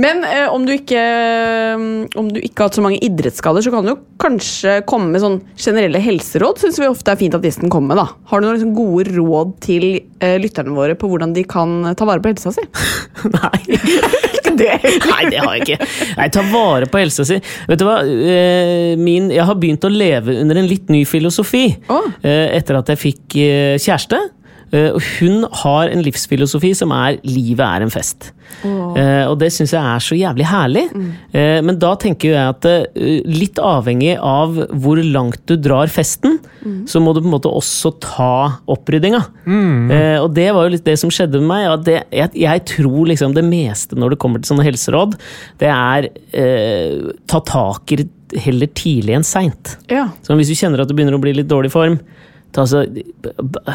Speaker 2: Men eh, om, du ikke, mm, om du ikke har hatt så mange idrettsskader, så kan du jo kanskje komme med sånn generelle helseråd. Syns vi ofte er fint at gjesten kommer med. da. Har du noen liksom gode råd til eh, lytterne våre på hvordan de kan ta vare på helsa [LAUGHS] si?
Speaker 4: Nei. Nei, det har jeg ikke. Nei, ta vare på helsa si. Vet du hva? Eh, Min, jeg har begynt å leve under en litt ny filosofi
Speaker 2: Å.
Speaker 4: eh, etter at jeg fikk eh, kjæreste. Eh, Og hun har en livsfilosofi som er 'livet er en fest'. Eh, Og det syns jeg er så jævlig herlig. Eh, Men da tenker jo jeg at eh, litt avhengig av hvor langt du drar festen, så må du på en måte også ta oppryddinga. Eh, og det var jo litt det som skjedde med meg. At det, jeg, jeg tror liksom det meste når det kommer til sånne helseråd, det er eh, ta tak i det heller tidlig enn seint.
Speaker 2: Ja.
Speaker 4: Så hvis du kjenner at du begynner å bli litt dårlig i form, ta så, b- b-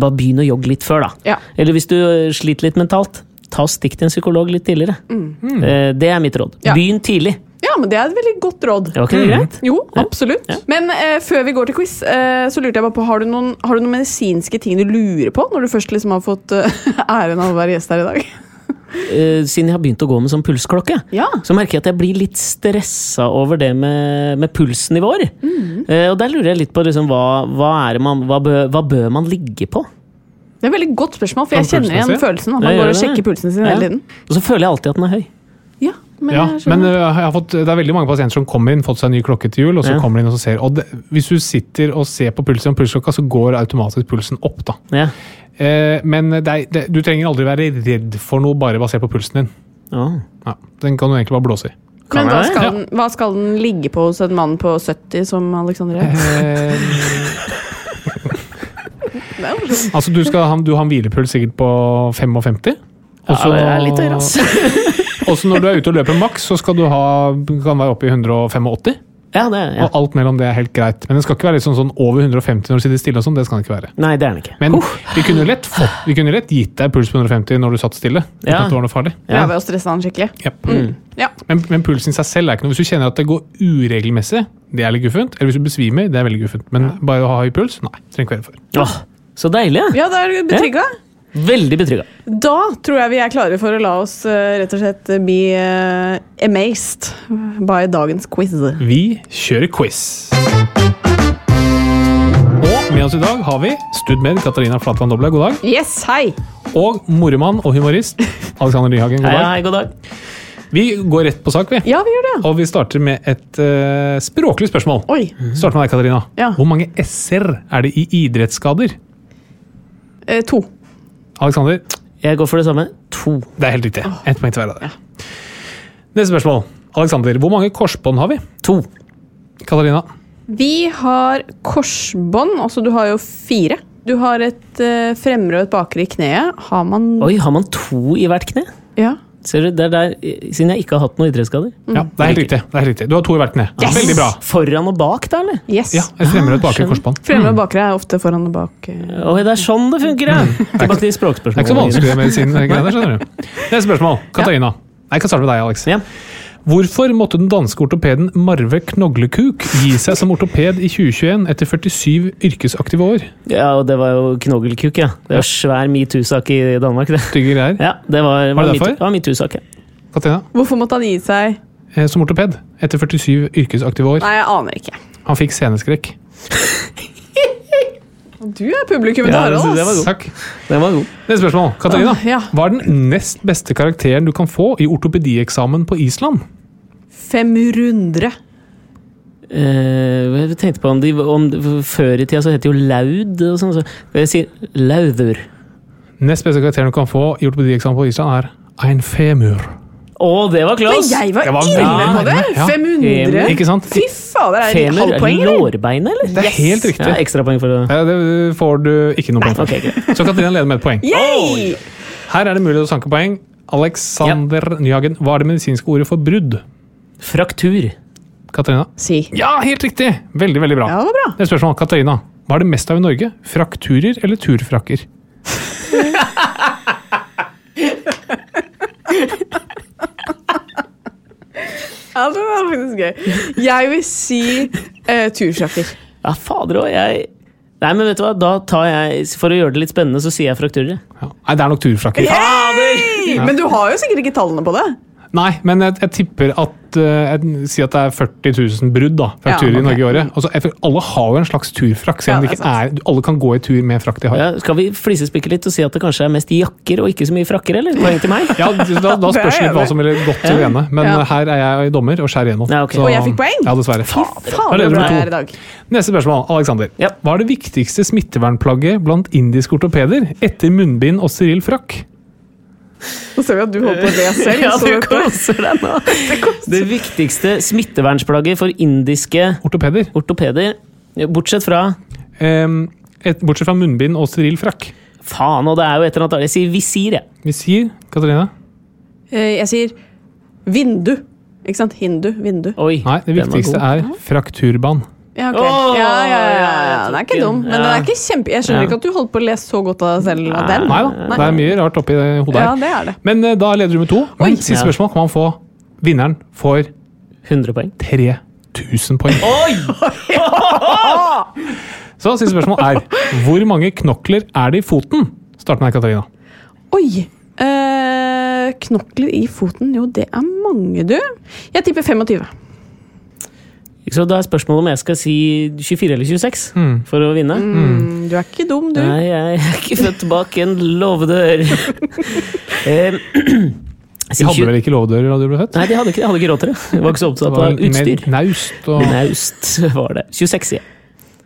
Speaker 4: bare begynn å jogge litt før, da.
Speaker 2: Ja.
Speaker 4: Eller hvis du eh, sliter litt mentalt, ta og stikk til en psykolog litt tidligere. Eh, det er mitt råd.
Speaker 2: Ja.
Speaker 4: Begynn tidlig.
Speaker 2: ja, men det er et veldig godt råd.
Speaker 4: Det var ikke det greit?
Speaker 2: Jo, absolutt. Men eh, før vi går til quiz, eh, så lurte jeg bare på har du, noen, har du noen medisinske ting du lurer på, når du først liksom har fått eh, [LAUGHS] æren av å være gjest her i dag?
Speaker 4: Eh, siden jeg har begynt å gå med sånn pulsklokke,
Speaker 2: Ja.
Speaker 4: så merker jeg at jeg blir litt stressa over det med, med pulsnivåer. Eh, og der lurer jeg litt på liksom, hva, hva, er det man, hva, bø, hva bør man ligge på?
Speaker 2: Det er et veldig godt spørsmål, for jeg
Speaker 3: Sånn
Speaker 2: kjenner igjen
Speaker 3: pulsen sin?
Speaker 2: følelsen. At man
Speaker 4: Ja,
Speaker 2: går
Speaker 4: gjør
Speaker 2: og
Speaker 4: det.
Speaker 2: sjekker pulsen sin
Speaker 4: Ja.
Speaker 2: hele tiden.
Speaker 4: Og så føler jeg alltid at den er høy.
Speaker 2: Ja, men,
Speaker 3: Ja,
Speaker 2: jeg skjønner.
Speaker 3: men
Speaker 4: eh,
Speaker 3: øh, jeg har fått, det er veldig mange pasienter som kommer inn, fått seg en ny klokke til jul, og så
Speaker 4: Ja.
Speaker 3: kommer de inn og så ser. Og det, hvis du sitter og ser på pulsen og pulsklokka, så går automatisk pulsen opp, da.
Speaker 4: Ja.
Speaker 3: Eh, men det er, det, du trenger aldri være redd for noe bare basert på pulsen din.
Speaker 4: Ja.
Speaker 3: Ja, den kan du egentlig bare blåse i.
Speaker 2: Men
Speaker 4: Kan jeg
Speaker 2: hva
Speaker 4: det?
Speaker 2: skal, den, hva skal den ligge på hos en mann på 70 som Alexander er?
Speaker 4: [LAUGHS]
Speaker 2: Eh, Det er jo sånn.
Speaker 3: altså, du, skal, ha- du har en hvilepuls sikkert på 55? Og så-
Speaker 4: ja, det er litt
Speaker 3: [LAUGHS]
Speaker 4: høyere, ass.
Speaker 3: Og så når du er ute og løper maks, så skal du ha, kan være oppe i 185.
Speaker 4: Ja, det er, ja.
Speaker 3: Og alt mellom det er helt greit. Men den skal ikke være litt sånn, sånn over 150 når du sitter stille og sånn. Det skal den ikke være.
Speaker 4: Nei, det er den ikke.
Speaker 3: Men vi kunne jo lett, fått, vi kunne lett gitt deg puls på 150 når du satt stille. uten
Speaker 4: Ja.
Speaker 3: at det var noe farlig.
Speaker 4: Ja.
Speaker 2: Ja, ved å stresse han skikkelig.
Speaker 3: Jep.
Speaker 2: Ja.
Speaker 3: Men, men pulsen i seg selv er ikke noe. Hvis du kjenner at det går uregelmessig, det er litt guffent. Eller hvis du besvimer, det er veldig guffent. Men bare å ha høy puls, nei. Trenger ikke være for.
Speaker 4: Åh, så deilig! Ja.
Speaker 2: ja, da er du betrygga.
Speaker 4: Veldig betrygga.
Speaker 2: Da tror jeg vi er klare for å la oss eh, rett og slett be eh, amazed by dagens quiz.
Speaker 3: Vi kjører quiz. Og med oss i dag har vi studmed Katarina Flatland Doble, god dag.
Speaker 2: Yes, hei!
Speaker 3: Og moremann og humorist Alexander Nyhagen,
Speaker 4: Hei,
Speaker 3: god dag.
Speaker 4: hei, god dag.
Speaker 3: Vi går rett på sak, vi.
Speaker 2: Ja, vi gjør det.
Speaker 3: Og vi starter med et eh, språklig spørsmål.
Speaker 2: Oi.
Speaker 3: Start med deg, Katarina.
Speaker 2: Ja.
Speaker 3: Hvor mange s-er er det i idrettsskader?
Speaker 2: eh, to.
Speaker 3: Alexander,
Speaker 4: Jeg går for det samme. To.
Speaker 3: det er helt riktig. Ett poeng til hver av dere. Neste spørsmål. Alexander, hvor mange korsbånd har vi?
Speaker 4: To.
Speaker 3: Katarina,
Speaker 2: Vi har korsbånd. Altså, du har jo fire. Du har et eh, fremre og et bakre i kneet. Har man
Speaker 4: Oi, har man to i hvert kne?
Speaker 2: Ja.
Speaker 4: Ser du, det er der, Siden jeg ikke har hatt noen idrettsskader.
Speaker 3: ja, det er helt riktig. Det er helt riktig. Du har to i hvert kne. Veldig bra.
Speaker 4: Foran og bak, da, eller?
Speaker 2: Yes.
Speaker 3: Ja, et fremre og et bakre korsbånd.
Speaker 2: Fremme og bakre er ofte foran og bak. eh.
Speaker 4: Oi, det er sånn det funker, ja! Tilbake
Speaker 3: Det er ikke
Speaker 4: til
Speaker 3: så
Speaker 4: språkspørsmålet.
Speaker 3: vanskelig med sine greier, skjønner du. Neste spørsmål. Katarina. Jeg kan starte med deg, Alex.
Speaker 4: Ja.
Speaker 3: Hvorfor måtte den danske ortopeden Marve Knoglekuk gi seg som ortoped i 2021 etter 47 yrkesaktive år?
Speaker 4: Ja, og det var jo knogelkuk, ja. Det var svær metoo-sak i Danmark, det.
Speaker 3: Stygge greier.
Speaker 4: Ja, det var,
Speaker 3: Var det
Speaker 4: metoo-
Speaker 3: derfor?
Speaker 4: det var metoo-sak, ja.
Speaker 3: Katarina,
Speaker 2: Hvorfor måtte han gi seg?
Speaker 3: eh, som ortoped etter 47 yrkesaktive år.
Speaker 2: Nei, jeg aner ikke.
Speaker 3: Han fikk sceneskrekk.
Speaker 2: Du er publikummet
Speaker 4: Ja,
Speaker 2: til
Speaker 4: jeg
Speaker 2: Harald.
Speaker 4: synes det var
Speaker 2: ass.
Speaker 4: god.
Speaker 3: Takk.
Speaker 4: Den var god.
Speaker 3: Neste spørsmål. Katarina,
Speaker 2: Ah, ja.
Speaker 3: hva er den nest beste karakteren du kan få i ortopedieksamen på Island?
Speaker 2: 500.
Speaker 4: Eh, jeg tenkte på om de om, Før i tida så het det jo laud og sånn. Så. Jeg sier laudur.
Speaker 3: Nest beste karakteren du kan få i ortopedieksamen på Island er ein femur.
Speaker 4: Å, det var
Speaker 2: Men
Speaker 4: close!
Speaker 2: jeg var,
Speaker 3: Det var
Speaker 2: inne
Speaker 3: veldig
Speaker 2: på det!
Speaker 3: nærme, ja.
Speaker 2: 500.
Speaker 3: Ikke sant?
Speaker 2: Fy fader, er det
Speaker 4: Femur?
Speaker 2: halvpoeng,
Speaker 4: Er det
Speaker 2: eller?
Speaker 4: lårbeinet, eller?
Speaker 3: Det er helt riktig.
Speaker 4: Ja, ekstrapoeng for det.
Speaker 3: Eh, Det får du ikke noe poeng for. [LAUGHS]
Speaker 4: Ok, greit.
Speaker 3: Så Katarina leder med et poeng.
Speaker 2: Yay!
Speaker 3: Her er det mulig å sanke poeng. Alexander Nyhagen, hva er det medisinske ordet for brudd?
Speaker 4: Fraktur.
Speaker 3: Katarina?
Speaker 2: Si.
Speaker 3: Ja, helt riktig! Veldig, veldig bra.
Speaker 2: Ja, det var bra.
Speaker 3: Det er spørsmål. Katarina, hva er det mest av i Norge? Frakturer eller turfrakker?
Speaker 2: Ja, det var faktisk gøy. Jeg vil si uh, turfrakker.
Speaker 4: Ja, fader òg, jeg Nei, men vet du hva, da tar jeg For å gjøre det litt spennende, så sier jeg frakturer. jeg.
Speaker 3: Ja. Nei, det er nok turfrakker.
Speaker 2: Yay! Men du har jo sikkert ikke tallene på det.
Speaker 3: Nei, men jeg, jeg tipper at eh, Jeg sier at det er 40 000 brudd, da. Frakturer
Speaker 2: Ja,
Speaker 3: i Norge i
Speaker 2: ok.
Speaker 3: året. Altså, jeg, føler alle har jo en slags turfrakk, selv
Speaker 2: Ja,
Speaker 3: om
Speaker 2: det
Speaker 3: det
Speaker 2: er
Speaker 3: ikke er, alle kan gå i tur med frakk de har.
Speaker 4: Ja, skal vi flisespikke litt og si at det kanskje er mest jakker og ikke så mye frakker, eller? Poeng til meg?
Speaker 3: [LAUGHS] Ja, da,
Speaker 2: [LAUGHS]
Speaker 3: da spørs det litt hva som ville gått til det ene. Men
Speaker 2: Ja.
Speaker 3: eh, her er jeg dommer og skjærer igjennom.
Speaker 4: Ja, ok.
Speaker 2: Og jeg fikk poeng?
Speaker 3: Ja, dessverre. Da
Speaker 2: Faen,
Speaker 3: leder
Speaker 2: hvor
Speaker 3: du
Speaker 2: bra jeg er
Speaker 3: med
Speaker 2: i
Speaker 3: to.
Speaker 2: dag.
Speaker 3: Neste spørsmål, Alexander.
Speaker 4: Ja.
Speaker 3: Hva er det viktigste smittevernplagget blant indiske ortopeder etter munnbind og steril frakk?
Speaker 2: Nå ser vi at du holder på å le selv.
Speaker 4: Ja,
Speaker 2: så
Speaker 4: du
Speaker 2: dette-
Speaker 4: koser deg nå. [LAUGHS] Det viktigste smittevernsplagget for indiske
Speaker 3: Ortopeder.
Speaker 4: ortopeder, bortsett fra
Speaker 3: Ehm, et, bortsett fra munnbind og steril frakk.
Speaker 4: Faen, og det er jo et eller annet Jeg sier visir, jeg.
Speaker 3: Vi sier, Katarina
Speaker 2: Eh, Jeg sier vindu. Ikke sant? Hindu, vindu.
Speaker 4: Oi,
Speaker 3: Nei, det
Speaker 4: den var
Speaker 3: viktigste
Speaker 4: god.
Speaker 3: er frakturbanen.
Speaker 2: Ja, ok.
Speaker 4: Åh,
Speaker 2: ja, ja, ja, ja.
Speaker 4: jeg
Speaker 2: Den er
Speaker 4: tok
Speaker 2: ikke dum,
Speaker 4: den.
Speaker 2: men den
Speaker 4: Ja.
Speaker 2: er ikke kjempe... Jeg skjønner
Speaker 4: Ja.
Speaker 2: ikke at du holdt på å lese så godt av deg selv av den.
Speaker 3: Nei da, det er mye rart oppi det hodet
Speaker 2: Ja,
Speaker 3: her.
Speaker 2: det er det.
Speaker 3: Men eh, da leder du med to. Men siste
Speaker 4: Ja.
Speaker 3: spørsmål kan man få. Vinneren får
Speaker 4: 100 poeng.
Speaker 3: 3000 poeng.
Speaker 2: [LAUGHS]
Speaker 3: Så siste spørsmål er hvor mange knokler er det i foten? Start med deg, Katarina.
Speaker 2: Oi! Eh, knokler i foten. Jo, det er mange, du. Jeg tipper 25.
Speaker 4: Så da er spørsmålet om jeg skal si 24 eller 26 for å vinne.
Speaker 2: Mm, Du er ikke dum, du.
Speaker 4: Nei, jeg er ikke født bak en låvedør. Eh, [CLEARS THROAT]
Speaker 3: De
Speaker 4: si
Speaker 3: hadde
Speaker 4: tjue-
Speaker 3: vel ikke låvedører da du ble født?
Speaker 4: Nei, de hadde ikke, de hadde ikke råd til det. De var ikke så
Speaker 3: Det
Speaker 4: opptatt
Speaker 3: var
Speaker 4: av
Speaker 3: vel mer
Speaker 4: utstyr.
Speaker 3: Naust og
Speaker 4: Naust var det. 26, sier jeg.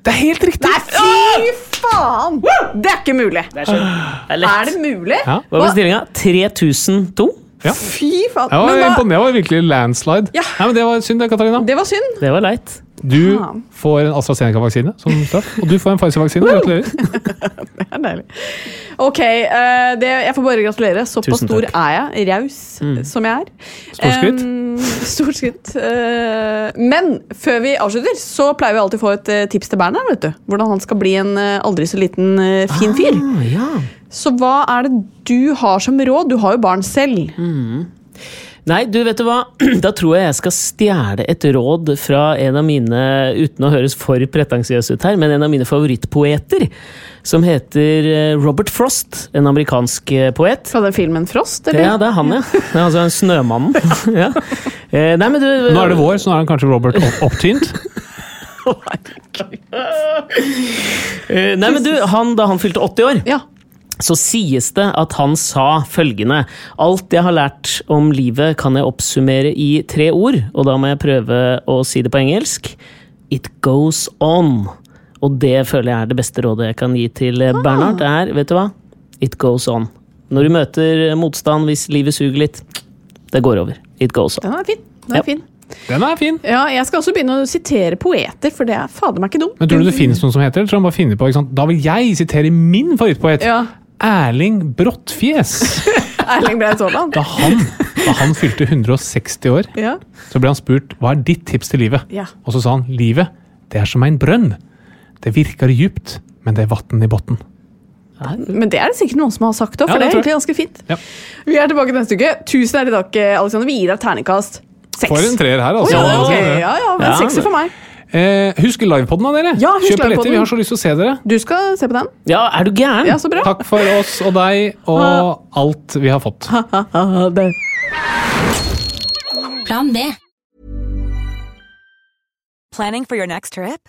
Speaker 3: Det er helt riktig!
Speaker 2: Fy faen! Det er ikke mulig!
Speaker 4: Det er skjønt. Det er
Speaker 2: Er
Speaker 4: lett.
Speaker 2: det mulig?
Speaker 3: Ja.
Speaker 4: Hva ble stillinga? 3002?
Speaker 2: Fy faen.
Speaker 3: Jeg var
Speaker 2: Men da,
Speaker 3: imponert. Det var virkelig landslide.
Speaker 2: Ja.
Speaker 3: Nei, men Det var synd, det, Katarina.
Speaker 2: det var synd.
Speaker 4: Det var leit.
Speaker 3: Du
Speaker 2: Faen.
Speaker 3: får en AstraZeneca-vaksine som straff, og du får en Pfizer-vaksine. Gratulerer.
Speaker 2: Det er deilig. Ok, eh, det, jeg får bare gratulere. Såpass
Speaker 4: Tusen
Speaker 2: stor
Speaker 4: takk.
Speaker 2: er jeg. Raus som jeg er.
Speaker 3: Stort skritt.
Speaker 2: Em, stort skritt. eh, men før vi avslutter, så pleier vi alltid å få et eh, tips til Berner. vet du. Hvordan han skal bli en eh, aldri så liten eh, fin fyr.
Speaker 4: Ah.
Speaker 3: Ah,
Speaker 2: Så hva er det du har som råd? Du har jo barn selv.
Speaker 4: Nei, du vet du hva? [CLEARS THROAT] Da tror jeg jeg skal stjele et råd fra en av mine, uten å høres for pretensiøs ut her, men en av mine favorittpoeter, som heter eh, Robert Frost. En amerikansk eh, poet.
Speaker 2: Fra den filmen Frost, eller?
Speaker 4: Ja, det er han, ja. Det er altså snømannen. [LAUGHS] ja. Eh, nei, men du,
Speaker 3: Nå er det vår, så nå er han kanskje Robert opp- opptynt.
Speaker 4: Eh, nei, men du, han, da han fylte 80 år,
Speaker 2: Ja.
Speaker 4: så sies det at han sa følgende Alt jeg har lært om livet, kan jeg oppsummere i tre ord, og da må jeg prøve å si det på engelsk. It goes on. Og det føler jeg er det beste rådet jeg kan gi til
Speaker 2: Ah.
Speaker 4: eh, Bernhard. Det er, vet du hva? It goes on. Når du møter motstand, hvis livet suger litt, det går over. It goes on.
Speaker 2: Den er fin. Den er
Speaker 4: Ja.
Speaker 2: fin.
Speaker 3: Den er fin.
Speaker 2: Ja, jeg skal også begynne å sitere poeter, for det er fader meg ikke dumt.
Speaker 3: Men tror
Speaker 2: [LAUGHS]
Speaker 3: du det finnes noen som heter det? Tror du han bare finner på, ikke sant? Da vil jeg sitere min favorittpoet.
Speaker 2: Ja.
Speaker 3: Erling Brottfjes.
Speaker 2: Erling Braut Haaland.
Speaker 3: Da han, da han fylte 160 år,
Speaker 2: Ja.
Speaker 3: så ble han spurt hva er ditt tips til livet.
Speaker 2: Ja.
Speaker 3: Og så sa han livet det er som en brønn. Det virker djupt, men det er vann i bunnen.
Speaker 2: Men det er det sikkert noen som har sagt òg,
Speaker 3: Ja,
Speaker 2: for det
Speaker 3: det
Speaker 2: er
Speaker 3: tror
Speaker 2: egentlig
Speaker 3: jeg.
Speaker 2: ganske fint.
Speaker 3: Ja.
Speaker 2: Vi er tilbake neste uke. Tusen ærlig takk, eh, Alexander. Vi gir deg terningkast seks.
Speaker 3: For en treer her,
Speaker 2: Å,
Speaker 3: altså.
Speaker 2: ja, ok. ja, ja, men
Speaker 4: Ja,
Speaker 2: sekser for meg.
Speaker 3: Eh, husk livepoden, da, dere.
Speaker 2: Ja, husk
Speaker 3: Kjøp billetter.
Speaker 2: livepodden.
Speaker 3: Vi har så lyst til å se dere.
Speaker 2: Du skal se på den?
Speaker 4: Ja, er du gæren?
Speaker 2: Ja, så bra.
Speaker 3: Takk for oss og deg og alt vi har fått.
Speaker 2: Ha det.
Speaker 5: Plan B.
Speaker 6: Planning for your next trip?